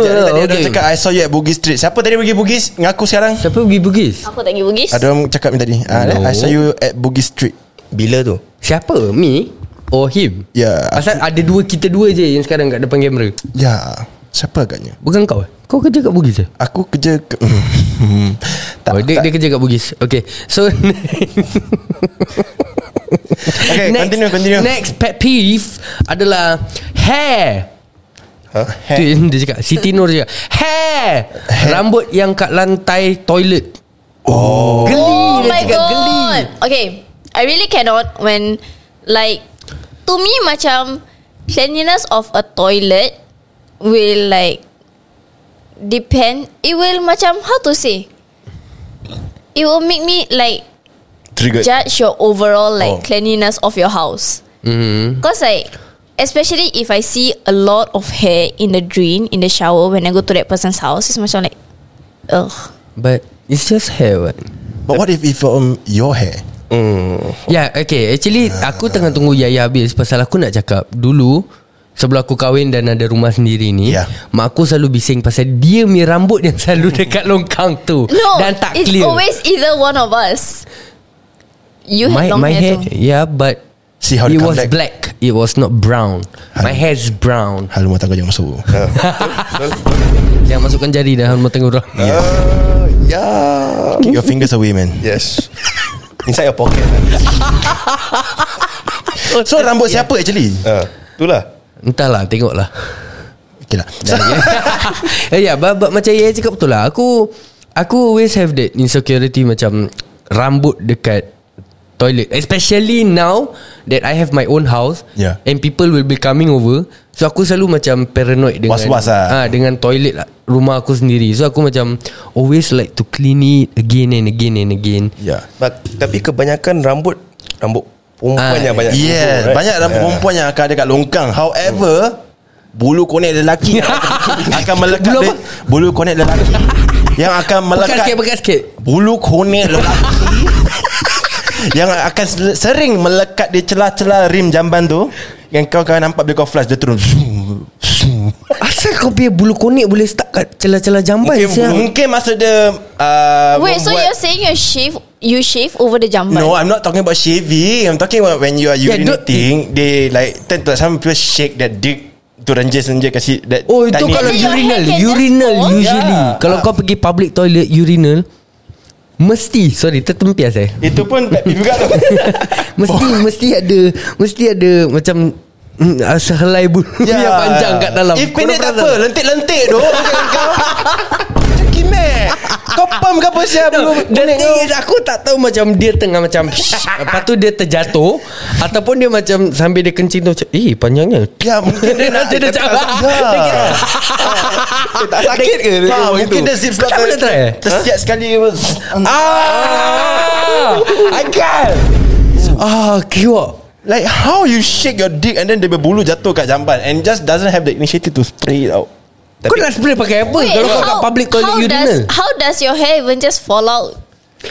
Jadi tadi okay. ada orang cakap I saw you at Bugis Street. Siapa tadi pergi Bugis? Ngaku sekarang. Siapa pergi Bugis? Aku tak pergi Bugis Ada orang cakap ni tadi. Ah, No. I saw you at Bugis Street. Bila tu? Siapa? Me? Or him? Ya. Pasal ada dua Kita dua je Yang sekarang kat depan kamera Ya. Siapa agaknya? Bukan kau eh? Kau kerja kat Bugis eh? Aku kerja ke... tak, oh, dia, tak. dia kerja kat Bugis Okay So Okay, continue, continue. Next pet peeve Adalah Hair Ha? Tu yang dia cakap Siti Nur cakap Hair Rambut yang kat lantai toilet Oh Geli Oh dia my cakap god geli Okay I really cannot When Like To me macam Cleanliness of a toilet Will like Depend It will macam How to say It will make me like Triggered. Judge your overall like Oh. Cleanliness of your house mm. Cause like Especially if I see a lot of hair in the drain in the shower when I go to that person's house, it's macam like, ugh. But It's just hair what? But what if if um, your hair? Ya yeah, okay Actually aku tengah tunggu Yaya habis Pasal aku nak cakap Dulu Sebelum aku kahwin dan ada rumah sendiri ni Ya. Mak aku selalu bising pasal dia punya rambut yang selalu dekat longkang tu No, Dan tak it's clear always either one of us. You My, had long my hair, hair too. Yeah but See how It they come was back. black It was not brown My hair's brown Hal rumah tangga jangan masuk. Jangan masukkan jari dalam mata orang Ya. Uh, Ya. yeah. Keep your fingers away, man. Yes. Inside your pocket. Oh, So rambut ya. siapa actually? Ha, itulah. Entahlah tengoklah Okay lah. So, Ya yeah, but, but, macam Yaya cakap betul lah Aku Aku always have that insecurity Macam Rambut dekat Toilet Especially now That I have my own house Yeah. And people will be coming over So aku selalu macam Paranoid dengan Was-was ah, lah. Dengan toilet lah, Rumah aku sendiri So aku macam Always like to clean it Again and again and again yeah. But, tapi kebanyakan rambut rambut perempuan Ah, yang banyak. Yeah, kubur, right? banyak rambut Ah. perempuan yang akan ada kat longkang. However, bulu konek lelaki yang akan melekat Bulu apa? bulu, bulu konek lelaki yang akan Pekat melekat sikit Pekat sikit bulu konek lelaki yang akan sel- sering melekat di celah-celah rim jamban tu yang kau akan nampak bila kau flash dia turun zoom, zoom. Asal kau punya bulu konek Boleh start kat Celah-celah jamban Mungkin sial? mungkin masa dia uh, Wait, so membuat- you're saying you shave, you shave over the jamban? No, I'm not talking about shaving. I'm talking about when you are Yeah, don't- urinating, they like tend to some people shake that dick to renjes-renjes kasi that. Oh itu tiny- kalau Jadi your urinal hand can just Urinal fall? usually Yeah. Kalau kau pergi public toilet Urinal Mesti Sorry tertempias eh itu pun pet peeve juga tu. Mesti Mesti ada Mesti ada Macam mm, ah, Sehelai bulu yeah. Yang panjang kat dalam If Kau pendek dah tak apa, perasan? lentik-lentik tu. Kau kimek. Kau pam ke apa siap No, belum? the thing is aku tak tahu macam dia tengah macam lepas tu dia terjatuh ataupun dia macam sambil dia kencing tu macam eh panjangnya Ya mungkin dia nak dia macam Ya. Eh, tak sakit ke? Tak, mungkin dia zip slot Tak pernah try, eh? Tersiap sekali ah I can't ah kiwa Like how you shake your dick And then dia berbulu jatuh kat jamban And just doesn't have the initiative To spray it out kau nak spray pakai apa Wait, kalau kau kat public toilet how urinal Does, how does your hair even just fall out?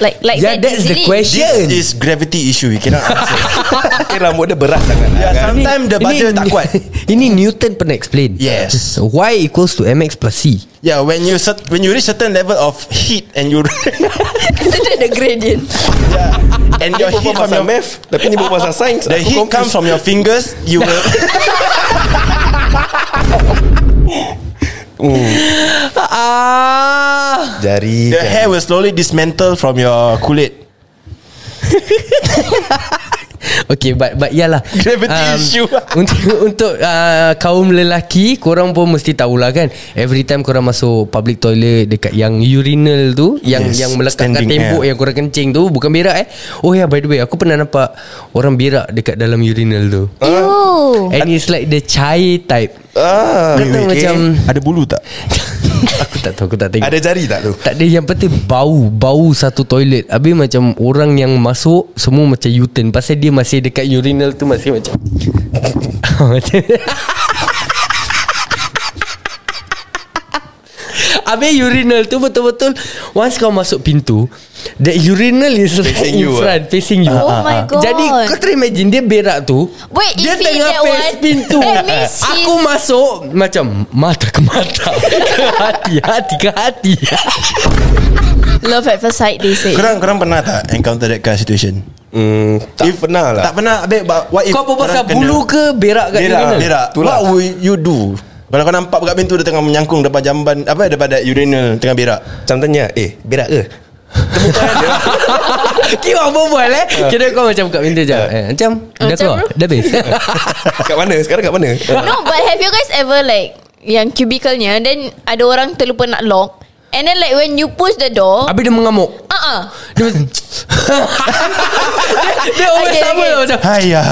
Like, like Yeah, that that's the easily? question. This is gravity issue We cannot answer Mungkin rambut dia berat sangat. yeah, Sometimes Ya, the Ini- badan tak kuat Ini Newton pernah explain Yes. Y equals to MX plus C Yeah Ya, when you cert- When you reach certain level of heat And you Consider the gradient. And Dia your berbual heat from pasal your math Tapi ni berbual pasal sains The Aku heat confused. comes from your fingers You will Ah, Jari The hair will slowly dismantle From your kulit Okay but but yalah. Um, Gravity issue. untuk untuk uh, kaum lelaki korang pun mesti tahulah kan. Every time korang masuk public toilet dekat yang urinal tu yang yes, Yes, yang melekat kat standing, tembok yeah. yeah. yang korang kencing tu bukan berak eh. Oh ya yeah, by the way aku pernah nampak orang berak dekat dalam urinal tu. Ew. And it's like the chai type. Ah, Kau tahu macam Ada bulu tak? aku tak tahu aku tak tengok. Ada jari tak tu? Tak ada yang penting bau Bau satu toilet Habis macam orang yang masuk Semua macam U-turn Pasal dia masih dekat urinal tu Masih macam Macam- Habis urinal tu betul-betul Once kau masuk pintu The urinal is like Facing in you, ah. front Facing you Ah. Oh my god. Jadi kau try imagine Dia berak tu Wait, Dia if he tengah that face one, pintu that means he's- Aku masuk Macam Mata ke mata Ke hati Hati ke hati Love at first sight they say. Korang, korang pernah tak encounter that kind of situation? Hmm, tak If- pernah lah. Tak pernah Babe, but what if Kau apa pasal korang kena- bulu ke Berak kat Berak urinal? Berak Itulah. What would you do Kalau kau nampak kat pintu Dia tengah menyangkung Depan jamban Apa Depan urinal Tengah berak Macam tanya, eh, berak ke? Kira apa buat eh Ya. Kira kau macam kat pintu je eh, Macam Dah Oh, Macam keluar bro. Dah habis kat mana? Sekarang kat mana? No, but have you guys ever like yang cubicle-nya then ada orang terlupa nak lock and then like when you push the door, Habis dia mengamuk ah uh-uh, Dia macam Dia- Dia always Okay, sama okay. lah macam Haiya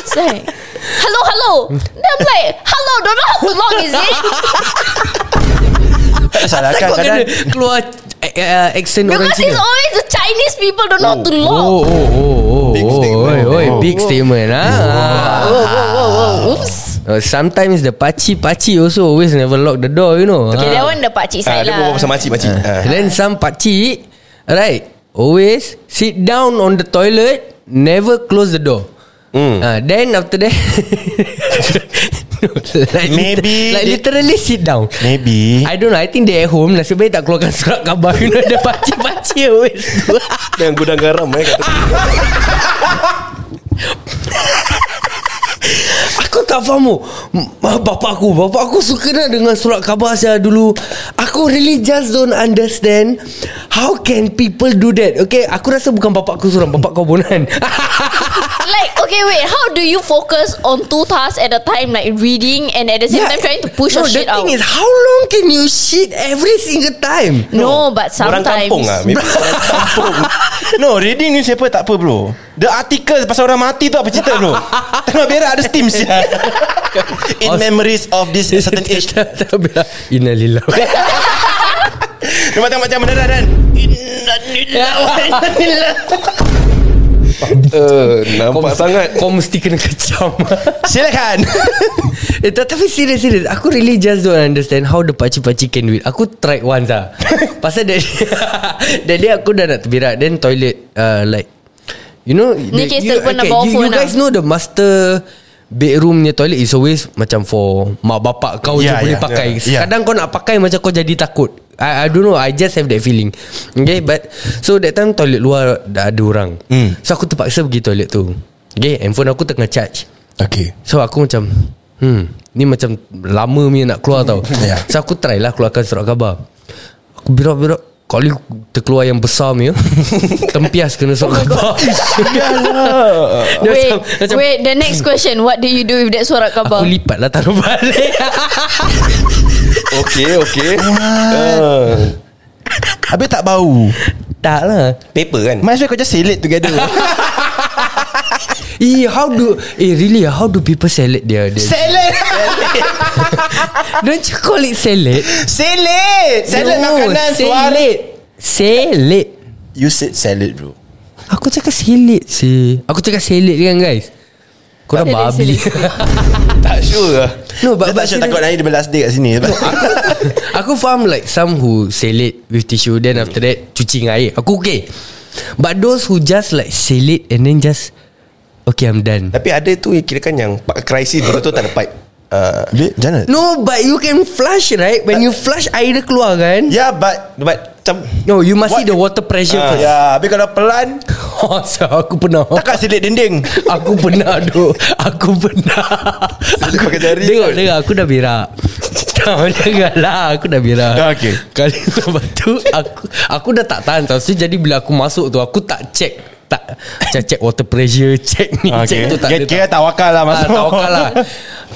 it's like hello hello. Then I'm like, hello, don't know how to lock is it? Tak salah Takut kena kadang-kadang keluar eh, eh, Accent orang Because Cina it's always the Chinese people don't know how to lock. Oh, oh, oh, oh, Big oh, statement. oi, oi, Oh. big statement ah. Whoa, whoa, whoa, whoa. Oops. Uh, sometimes the pachi pachi also always never lock the door, you know. Okay, that Ah. one the pakcik Ah, side dia lah. berbual pasal makcik-makcik. Ah. Then some pachi, right? Always sit down on the toilet, never close the door. Hmm. Uh, then after that, like Maybe liter- like they- literally sit down. Maybe I don't know I think they at home Nasib baik tak keluarkan surat khabar You know the pakcik-pakcik always do Dengan gudang garam eh kat tepi. Aku tak faham oh. M- Bapa aku Bapa aku suka nak dengar surat khabar saya dulu Aku really just don't understand How can people do that Okay Aku rasa bukan bapa aku suram Bapa kau bonan Like, okay, wait. How do you focus on two tasks at a time? Like reading and at the same time trying to push no, your shit the out. thing Nou, is How long can you shit every single time no, but Orang sometimes. kampung ah, lah Maybe orang kampung No reading ni siapa tak apa bro The article pasal orang mati tu apa cerita bro Tengah berak ada steam siap In memories of this certain age Innalillah Dia macam macam mana dah dan Ya. Eh, Nampak mesti- sangat Kau mesti kena kecam Silakan eh, tak- Tapi serius serius Aku really just don't understand How the pakcik-pakcik can do it Aku tried once lah Pasal that That day aku dah nak terbirak Then toilet uh, Like You know Ni the- case you, pun nak bawa you, you phone lah. guys know the master Bedroom ni toilet is always Macam for Mak bapak kau Yeah, je boleh yeah, pakai yeah, yeah. Kadang kau nak pakai Macam kau jadi takut I, I don't know I just have that feeling Okay but So that time toilet luar Dah ada orang Hmm. So aku terpaksa pergi toilet tu Okay and phone aku tengah charge Okay So aku macam Hmm Ni macam Lama punya nak keluar tau So aku try lah Keluarkan surat khabar Aku birak-birak Kali terkeluar yang besar punya Tempias kena surat khabar Dia Wait, macam, macam wait. The next question. What do you do with that surat khabar? Aku lipat lah taruh balik Okay okay Eh, Habis tak bau Tak lah Paper kan Might as well kau just selate together Eh how do Eh really How do people salad dia, dia Selate Don't you call it salad Selate Selate No, makanan suara Salad Salad You said salad bro Aku cakap salad si Aku cakap salad kan guys Korang Salad, babi Tak sure lah No Dia tak sure takut nanti dia belas day kat sini Aku faham like Some who selit With tissue Then Hmm. after that Cuci dengan air Aku okay But those who just like Selit and then just Okay I'm done Tapi ada tu kira kan yang pak- Crisis dulu tu tak ada pipe Ah, Dia jangan No but you can flush right When you flush Air dia keluar kan Yeah but But macam No you must Ya. What- see the water pressure Ya first yeah, Habis kalau pelan oh, so, Aku pernah Takkan selit dinding Aku pernah tu Aku pernah Selit pakai jari Tengok kot. tengok Aku dah berak Janganlah lah. Aku dah berak Dah okey. Kali lepas tu Aku aku dah tak tahan tau So jadi bila aku masuk tu Aku tak check tak Macam check water pressure Check ni Okay. Check tu tak Kira, ada kira tawakal lah Ah, masuk. tawakal lah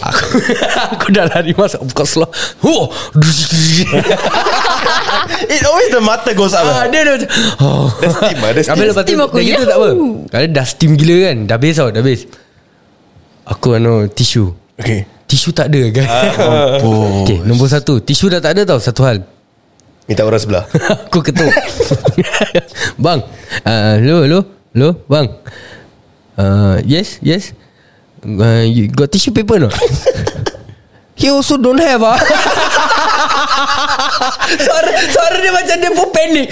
aku, aku dah lari masuk Buka seluar oh. It always the mata goes up. ah, Dia dah macam oh. lah. Dah steam lah Dah Habis steam lepas tu Steam aku, ya. Dah gitu tak apa Kalau dah steam gila kan Dah habis tau Dah habis Aku anu Tisu Okay. Tisu tak ada kan Ah, Okay Nombor satu Tisu dah tak ada tau Satu hal Minta orang sebelah Aku ketuk Bang uh, Hello Hello Hello Bang uh, Yes Yes uh, You got tissue paper not? He also don't have ah. suara, suara dia macam dia pun panik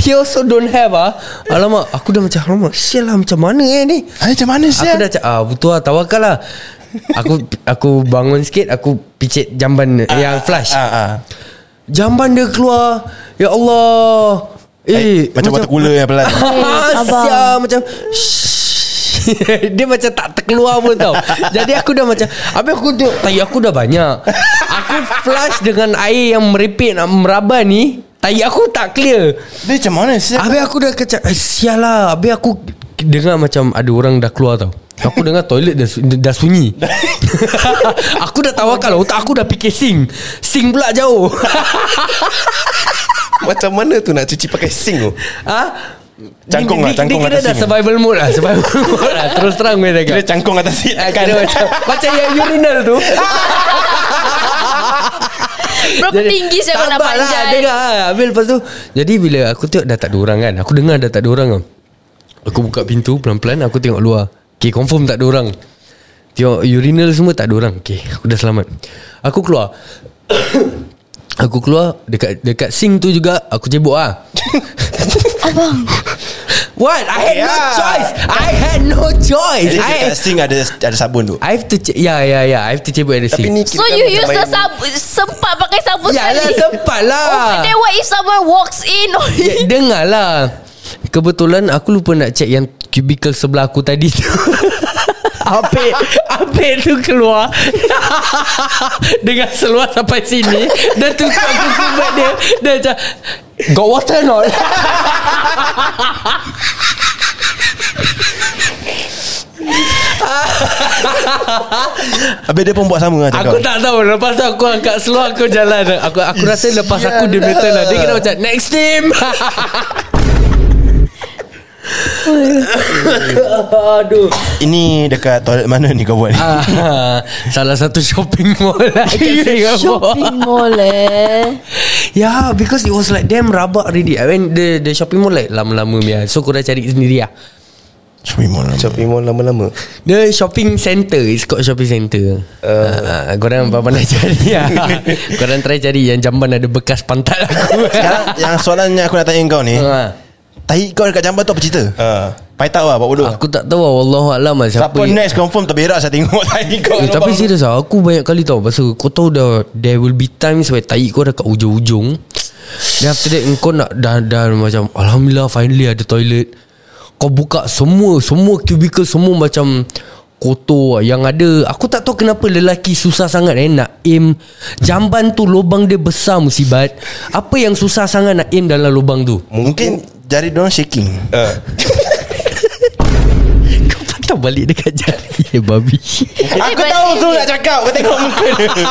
He also don't have ah. Alamak Aku dah macam Alamak Sial lah macam mana eh ni Ay, macam mana Aku siap? dah cakap ah, Betul lah tawakal lah Aku aku bangun sikit Aku picit jamban uh, Yang flush Ah, ah. Jamban dia keluar Ya Allah Eh, Eh, macam water cooler yang pelan. abang. Asyam Ah, Macam Dia macam tak terkeluar pun tau Jadi aku dah macam Habis aku tengok Tai aku dah banyak Aku flush dengan air yang merepek Nak meraba ni Tai aku tak clear Dia macam mana siap? Habis aku dah kacau eh, Sial lah Habis aku Dengar macam Ada orang dah keluar tau Aku dengar toilet dah, su- dah sunyi Aku dah tawakal Otak aku dah fikir sing Sing pula jauh Macam mana tu nak cuci pakai sink tu Ha? Cangkung Ni- lah, ni- cangkung Ni kira atas dah sini. survival mode lah Survival mode lah Terus terang gue dah Dia cangkung atas seat Ah, kan? kira macam, macam yang urinal tu Berapa tinggi saya kau nak tabak lah, panjat Dengar lah. Habis lepas tu Jadi bila aku tengok Dah tak ada orang kan Aku dengar dah tak ada orang tau. Aku buka pintu Pelan-pelan aku tengok luar Okay confirm tak ada orang Tengok urinal semua tak ada orang Okay aku dah selamat Aku keluar Aku keluar Dekat dekat sink tu juga Aku cebok lah Abang What? I had Ya. no Yeah. choice I had no choice Jadi I, kat sink ada ada sabun tu. I have to che- Ya ya ya I have to cebok at the Tapi sink ni So you lah. use the sabu Sempat pakai sabu Ya lah sekali sempat lah Oh, then what if someone walks in on Ya, Dengarlah Kebetulan aku lupa nak check yang cubicle sebelah aku tadi tu Apek Apek tu keluar Dengan seluar sampai sini Dan tu aku kubat dia Dia macam Got water or not? Habis dia pun buat sama dengan aku tak tahu Lepas tu aku angkat seluar Aku jalan Aku aku rasa lepas aku dia punya turn lah Dia kena macam Next team Aduh Ini dekat toilet mana ni kau buat ni? Ah, Salah satu shopping mall lah kat Singapore. mall eh Yeah Ya, because it was like Damn rabak already I mean the, the shopping mall like Lama-lama ya. So korang cari sendiri lah Shopping mall. Shopping mall lama-lama The shopping centre It's called shopping centre uh, uh, Korang apa pandai cari lah Korang try cari Yang jamban ada bekas pantat aku Sekarang yang soalan yang aku nak tanya kau ni, Ah. tai kau dekat jamban tu apa cerita? Ah. Pai tahu lah buat bodoh. Aku tak tahu lah Wallahualam lah Siapa, Siapa next confirm terberak saya tengok tai kau. Eh, tapi Abang. serius lah Aku banyak kali tau Pasal kau tahu dah There will be times Where tahi kau dah kat ujung-ujung Then after that Kau nak dah, dah macam Alhamdulillah finally ada toilet Kau buka semua Semua cubicle Semua macam Kotor lah. Yang ada Aku tak tahu kenapa Lelaki susah sangat eh Nak aim Jamban tu lubang dia besar musibat Apa yang susah sangat Nak aim dalam lubang tu Mungkin jari dorang shaking. Ah. Kau patah balik dekat jari Eh babi Aku tahu tu nak cakap Kau tengok muka dia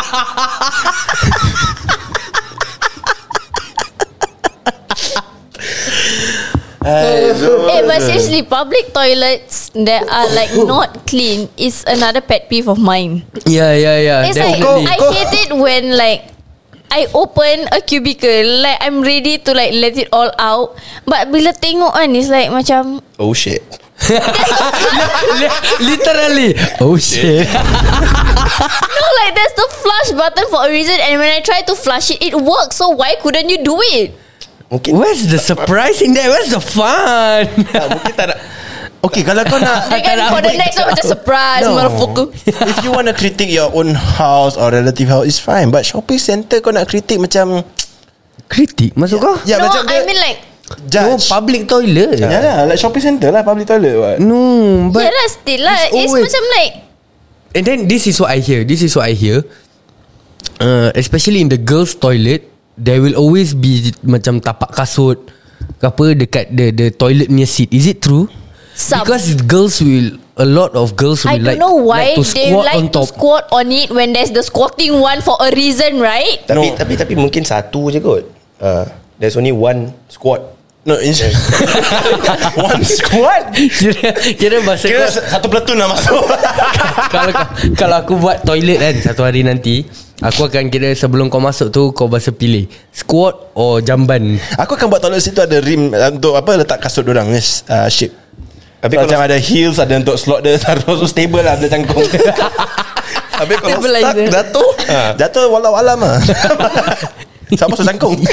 Eh but seriously Public toilets That are like Not clean Is another pet peeve of mine Ya ya ya It's like I hate it when like I open a cubicle Like I'm ready to like Let it all out But bila tengok kan It's like macam Oh shit Li- Literally Oh shit No like there's the flush button For a reason And when I try to flush it It works So why couldn't you do it Mungkin Where's the surprise in that? Where's the fun? tak, Mungkin tak nak Okay kalau kau nak Like and for kan the next one Macam surprise No. Oh. Motherfucker If you want to critique your own house Or relative house It's fine But shopping centre kau nak critique macam Kritik masuk kau? Ya No macam I dia mean like No, Judge public toilet. Ya lah Like shopping centre lah Public toilet what No, but Yeah lah still lah It's It's always- macam like and then this is what I hear. This is what I hear. Uh, especially in the girls' toilet, there will always be macam tapak kasut. ke apa dekat the the toilet punya seat. Is it true? Some. Because girls will a lot of girls will I like, don't know why like to they squat on like to top. squat on it when there's the squatting one for a reason, right? Tapi no. tapi tapi mungkin satu je kot. Uh, there's only one squad. No, it's One squad kira kira bahasa Kira kau, satu platoon lah masuk kalau kalau aku buat toilet kan satu hari nanti, aku akan kira sebelum kau masuk tu kau bahasa pilih squat or jamban. Aku akan buat toilet situ ada rim uh, Untuk apa letak kasut dorang ni uh, Shape Habis Habis kalau- macam ada heels Ada untuk slot dia Taruh tu stable lah Ada cangkung Habis kalau Stabilizer. stuck jatuh. Ha. Jatuh walau alam lah Sama masuk cangkung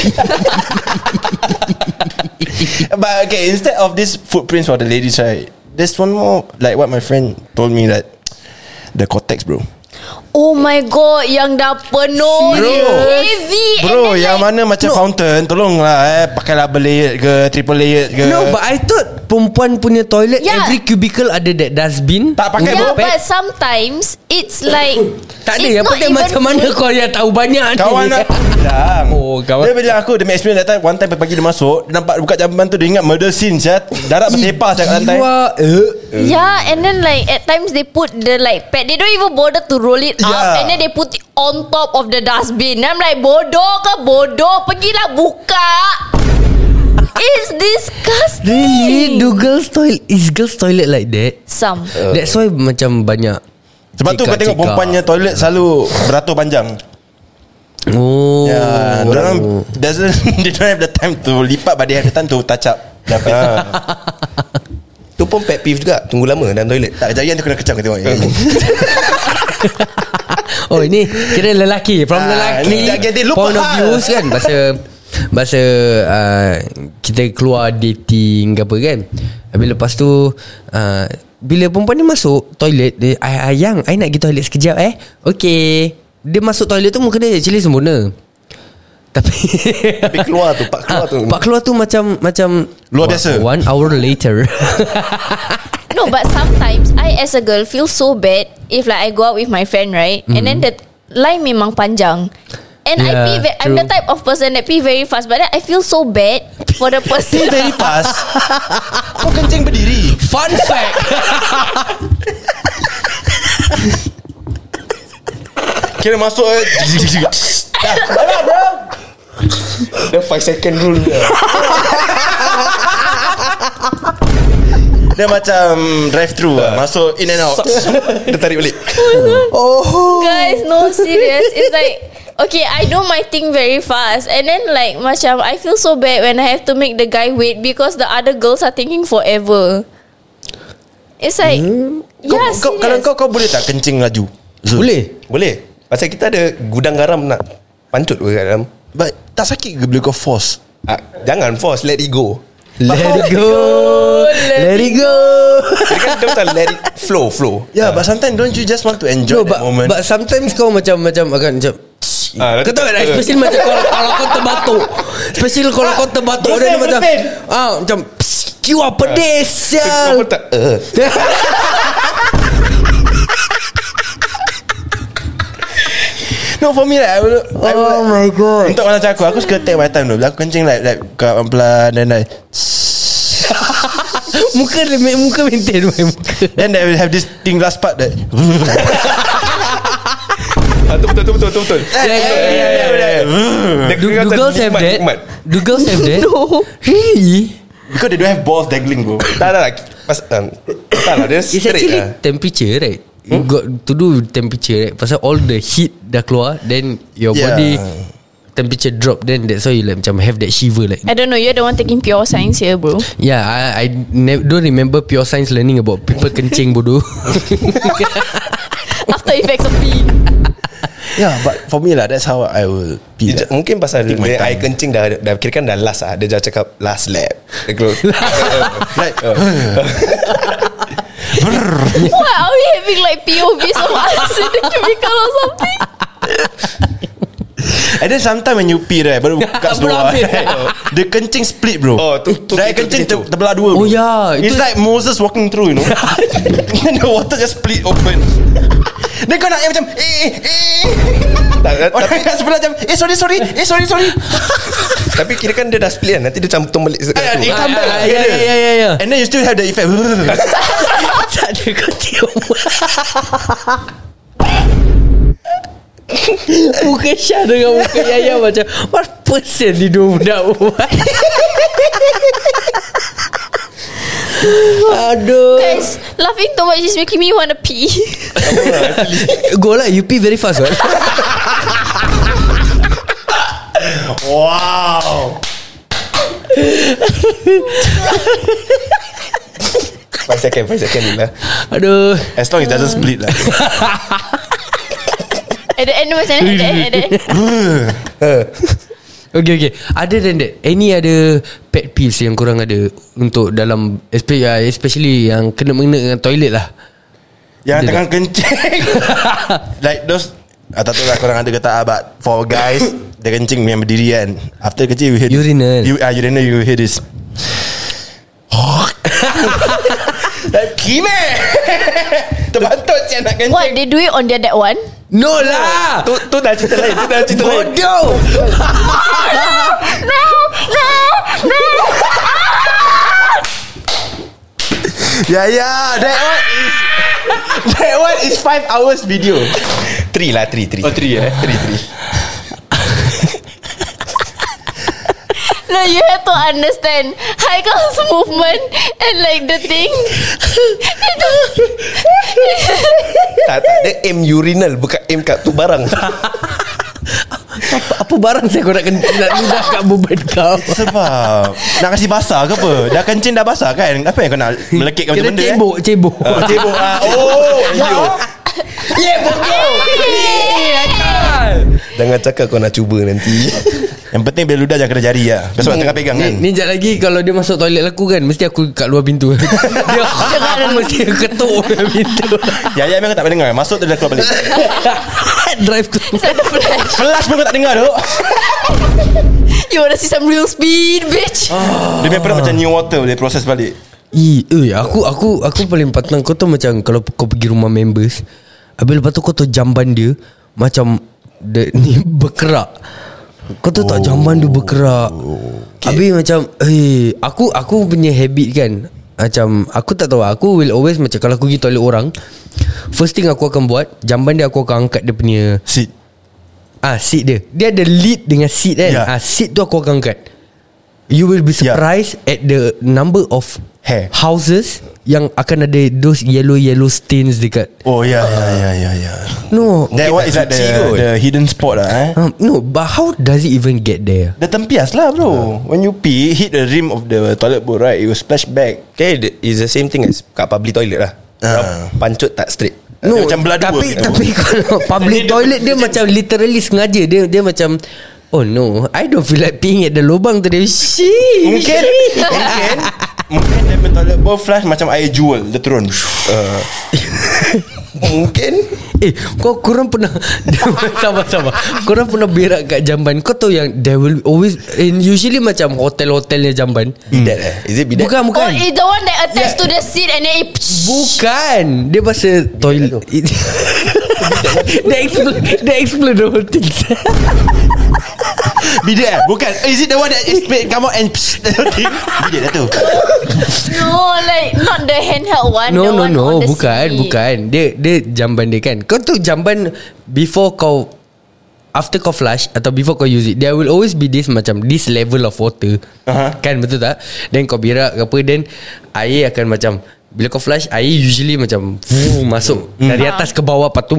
But okay Instead of this footprints For the ladies right There's one more Like what my friend Told me that The cortex bro Oh my god, yang dah penuh Bro. dia heavy Bro and then yang like, mana macam fountain Tolonglah eh Pakailah berlayered ke Triple layered ke No, but I thought perempuan punya toilet Yeah. every cubicle ada that dustbin. Tak pakai Yeah, bro but sometimes it's like Tak it's ada Apa not dia even macam mana full. kau yang tahu banyak ni? Kawan aku bilang Oh, kawan. Dia bilang aku Dia make experience that time One time pagi dia masuk Dia nampak buka jamban tu Dia ingat murder scene ya. Darah bersepah saya kat lantai Jiwa, eh. Yeah, Ya, and then like at times they put the like pad. They don't even bother to roll it up, Yeah. and then they put it on top of the dustbin. And I'm like, bodoh ke bodoh, pergilah buka. It's disgusting. Really Do girls toilet Is girls toilet like that Some. That's why macam banyak Sebab tu kau tengok perempuannya toilet Selalu beratur panjang Oh Ya Diorang doesn't, They don't have the time to lipat But they have the time to touch up Dah ha. Tu pun pet peeve juga. Tunggu lama dalam toilet. Tak kejadian tu kena kecam kau tengok Oh ini Kira lelaki From Ah, lelaki ni dah jadi lupa Point of hal. views kan Bahasa Bahasa uh, Kita keluar dating ke apa kan Habis lepas tu uh, Bila perempuan ni masuk Toilet dia, "Ah, Ayang I nak pergi toilet sekejap eh Okay Dia masuk toilet tu Muka dia actually sempurna Tapi Tapi keluar tu, pak keluar tu. Pak keluar tu macam Macam Luar biasa. One hour later No, but sometimes I as a girl feel so bad if like I go out with my friend, right? And then the line memang panjang. And I Mm. Yeah, pee ve- I'm true. the type of person that pee very fast, but then I feel so bad for the Pee person. very fast Kau kencing berdiri Fun fact Kira masuk eh. The 5 second rule dia. Dia macam drive through lah Masuk in and out Dia tarik balik Guys, Oh. no serious. It's like okay, I do my thing very fast, and then like macam I feel so bad when I have to make the guy wait because the other girls are taking forever. It's like kau, yeah, Hmm? kau, Kalau serious. kau kau boleh tak kencing laju Zul? Boleh Boleh. Pasal kita ada gudang garam nak pancut ke kat dalam. But tak sakit ke bila kau force Ah, jangan force, let it go. Let it go Let it go Dia kan dia macam let it flow, flow. Yeah but sometimes Don't you just want to enjoy No, that but, moment but sometimes kau macam Macam akan macam Ah, kau tahu tak Especially macam kalau, kalau kau terbatuk Especially kalau Ah, kau terbatuk Dia, dia macam ah, Macam "Psst, Kiwa pedes Ah, Kau Sial pun tak eh. No for me like I will, I will Oh my Eh. god Untuk macam aku Aku suka take my time dulu Bila aku kencing like, like Kau pelan Then I Muka Muka maintain my muka Eh, Then I will have this thing last part that Ah, tu betul, tu betul, tu betul. Yeah, yeah, yeah, yeah, eh, Dia- Do, do dia kata girls have nikmat, that? nikmat. Do girls have that? no Really? Because they don't have balls dangling bro Tak, tak, tak. Pas, um, tak lah, dia It's straight actually lah. Hmm? temperature right You got to do with temperature right Pasal all the heat dah keluar Then your Yeah. body Temperature drop Then that's why you like Macam have that shiver like I don't know. You're the one taking pure science here, bro. Yeah I, I ne- don't remember Pure science learning about People kencing bodoh After effects of peeing. Yeah but for me lah That's how I will be Dia, that. ja- mungkin pasal Take my dia time. air kencing dah, dah kira kan dah last lah. Dia dah cakap last lap. Dia close. Eh, Like Why are we having like POVs of us in the cubicle or something? And then sometimes when you pee right Baru buka Belum seluar habis. right? Dia kencing split bro Oh, tu- tu- Dia tu- kencing tu- ter- terbelah dua Oh, bro. ya, It's itu- like Moses walking through you know And the water just split open Then kau nak yang macam Eh eh eh Tak, Orang tapi, kat sebelah macam Eh sorry sorry Eh sorry sorry tapi kira kan dia dah split kan Nanti dia campur balik Ah, It sekali tu come back Ah, together. ya, ya, ya, ya. And then you still have the effect Tak ada kau tiup Muka Syah dengan muka Yaya macam What person ni dua budak buat Aduh Guys, laughing too much is making me want to pee. Go lah You pee very fast right? Wow Five second Five second ni lah Aduh As long as it doesn't split lah at the end macam ni, at the end, at the end. Okay okay Other than that Any ada Pet peeves yang korang ada Untuk dalam espe- ah, Especially yang Kena mengena dengan toilet lah Yang Ada tengah kencing Like those ah, Tak tahu lah korang ada ke tak ah, But for guys Dia kencing yang berdiri kan After kencing you hear this- Urinal. you, ah, Urinal you hear this Like kime Terbantut siapa nak kencing What, they do it on their that one? No lah Tu tu dah cerita lain Tu dah cerita lain Bodoh Ya ya That one is That one is 5 hours video Three lah Three three. Oh three eh Three three No, you have to understand Haikal's movement and like the thing. Itu. Tak tak Dia aim urinal Bukan aim kat tu barang apa, apa barang saya kau nak kena Nak ludah kat beban kau Sebab Nak kasih basah ke apa Dah kencing dah basah kan Apa yang kau nak Melekit macam Kira benda cebok eh? Cebok eh? Cebok ah. Oh yo. Yeah bodoh Jangan cakap kau nak cuba nanti Yang penting bila ludah jangan kena jari lah Sebab tengah pegang Ni, kan ni jap lagi Kalau dia masuk toilet aku kan Mesti aku kat luar pintu Dia aku mesti ketuk luar pintu Ya ya memang tak pernah dengar Masuk tu dah keluar balik Drive tu Satu flash. Flash pun kau tak dengar tu You wanna see some real speed, bitch? Oh, Dia punya perut macam new water Dia proses balik Eh, eh, aku aku aku paling patang kau tahu macam kalau kau pergi rumah members, habis lepas tu kau tahu jamban dia macam dia, ni berkerak. Kau tahu tak jamban dia berkerak. Okay. Habis macam eh aku aku punya habit kan macam aku tak tahu aku will always macam kalau aku pergi toilet orang first thing aku akan buat jamban dia aku akan angkat dia punya Sit ah seat dia. Dia ada lid dengan seat kan. Ya. Ah seat tu aku akan angkat. You will be Ya. surprised at the number of Hair. houses yang akan ada those yellow yellow stains dekat. Oh ya ya ya ya ya No. That one is like the, cuci kot. the hidden spot lah eh Um, no, but how does it even get there? Dah tempias lah bro When you pee Hit the rim of the toilet bowl right It will splash back Okay It's the same thing as Kat public toilet lah Ah. Pancut tak straight No, Dia macam belah dua tapi gitu. tapi kalau public toilet dia macam literally sengaja dia dia macam Oh no, I don't feel like peeing at the lubang today. Shit. Mungkin Mungkin Mungkin dia punya toilet bowl flash Macam air jewel Dia turun uh, Mungkin Eh kau korang pernah Sama-sama Korang pernah berak kat jamban Kau tahu yang There will always And usually macam Hotel-hotelnya jamban Bidat eh Is it bidat Bukan bukan Oh, it's the one that attached to the seat and then it. Bukan Dia pasal toilet Dia explain Dia explain the whole thing Bidet eh Bukan Is it the one that explain Come out and psst, Bidet lah tu No, like not the handheld one. No the no one no on the Bukan seat. Bukan Dia dia jamban dia kan Kau tu jamban Before kau After kau flush Atau before kau use it There will always be this Macam this level of water Aha. Kan betul tak Then kau berak ke apa Then Air akan macam Bila kau flush Air usually macam fuh, Masuk Dari atas ke bawah Lepas tu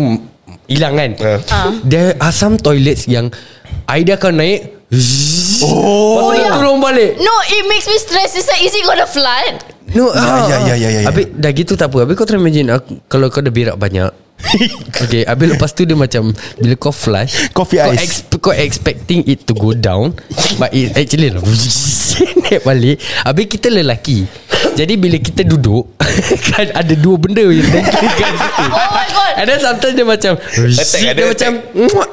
Hilang kan Ah. There are some toilets yang Air dia akan naik Oh, oh ya. turun balik No, it makes me stress. It's like, is it gonna flood? No Ya, ah, ya, ya, ya, ya, ya. Habis dah gitu tak apa Habis kau try imagine aku, Kalau kau dah berak banyak Okay Habis lepas tu dia macam Bila kau flush Coffee kau, ice. kau expecting it to go down But it actually lah, Naik balik Habis kita lelaki Jadi bila kita duduk Kan ada dua benda Yang dengking kat situ Oh my god. And then sometimes dia macam Attack, Dia ada macam Dia macam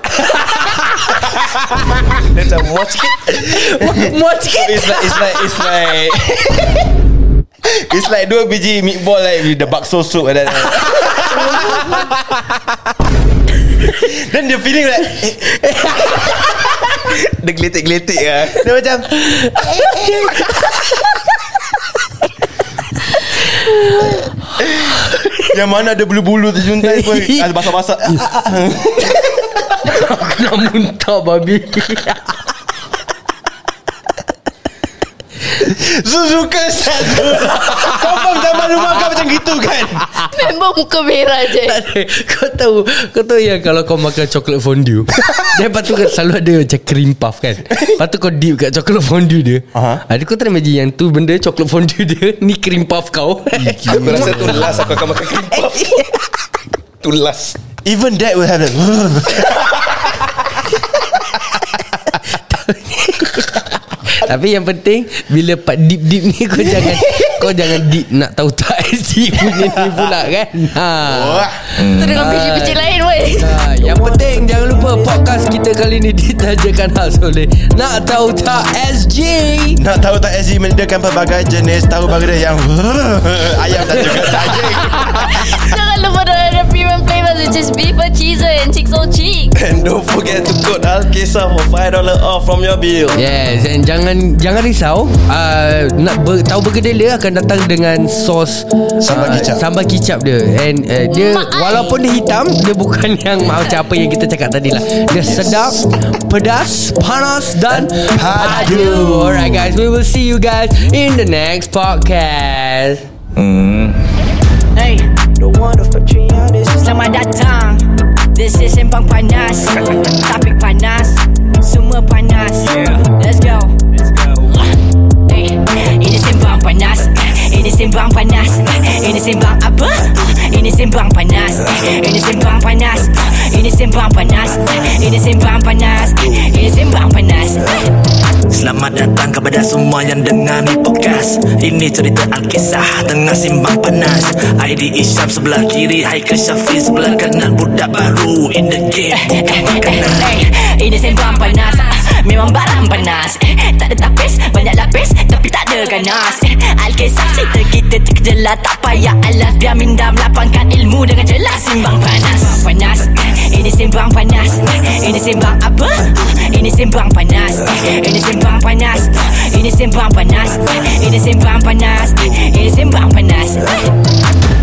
muat sikit Muat sikit It's like It's like It's like It's like dua biji meatball like with the bakso soup and then Then the feeling like Dia gelitik-gelitik lah Dia macam Yang mana ada bulu-bulu terjuntai pun Ada basah-basah Aku nak muntah babi Suzuka satu Kau bang zaman rumah kau macam gitu kan Member muka merah je Tak ada. Kau tahu Kau tahu yang Kalau kau makan coklat fondue Then lepas tu kan Selalu ada macam cream puff kan Lepas tu kau dip kat coklat fondue dia Aha. Ada kau tak imagine Yang tu benda coklat fondue dia Ni cream puff kau Aku rasa tu last Aku akan makan cream puff Tu last Even that will have that Tapi yang penting Bila part deep-deep ni Kau jangan Kau jangan deep Nak tahu tak SG punya ni pula kan ha. Tu dengan biji-biji lain weh ha. Yang penting Jangan lupa Podcast kita kali ni Ditajakan khas oleh Nak tahu tak SG Nak tahu tak SG menyediakan pelbagai jenis Tahu bagai dia yang Ayam dan juga daging Jangan lupa dengan the premium flavors Which is beef or cheese and chicks or cheek And don't forget to code Alkisah For $5 off from your bill Yes And jangan Jangan risau uh, Nak ber, tahu bergedela Akan datang dengan Sos Sambal ah, kicap. Sambal kicap dia And uh, dia Maaf. Walaupun dia hitam Dia bukan yang Macam apa yang kita cakap tadi lah Dia sedap Pedas Panas Dan Padu Alright guys We will see you guys In the next podcast Hey, Selamat datang This is Sembang Panas Topik panas Semua panas Let's go Hey, Ini Sembang Panas Ini Sembang Panas Ini Sembang apa? Ini Sembang Panas Ini Sembang Panas Ini Sembang Panas Ini Sembang Panas Ini Sembang Panas Selamat datang kepada semua yang dengar ni podcast Ini cerita Alkisah tengah simbang panas ID Isyam sebelah kiri Haikal Syafiq sebelah kanan Budak baru in the game Eh, bukan makanan Hey, eh, Ini sembang panas Ah, Memang barang panas Eh, Tak ada tapis Banyak lapis Tapi tak ada ganas Eh, Alkisah cerita kita terkejelah Tak payah alas Biar minda melapangkan ilmu Dengan jelas Simbang panas Sembang panas Eh, Ini sembang panas Eh, Ini sembang apa? Ah, Ini sembang panas Eh, Ini sembang panas Ah, Ini sembang panas Eh, Ini sembang panas Eh, Ini sembang panas Eh.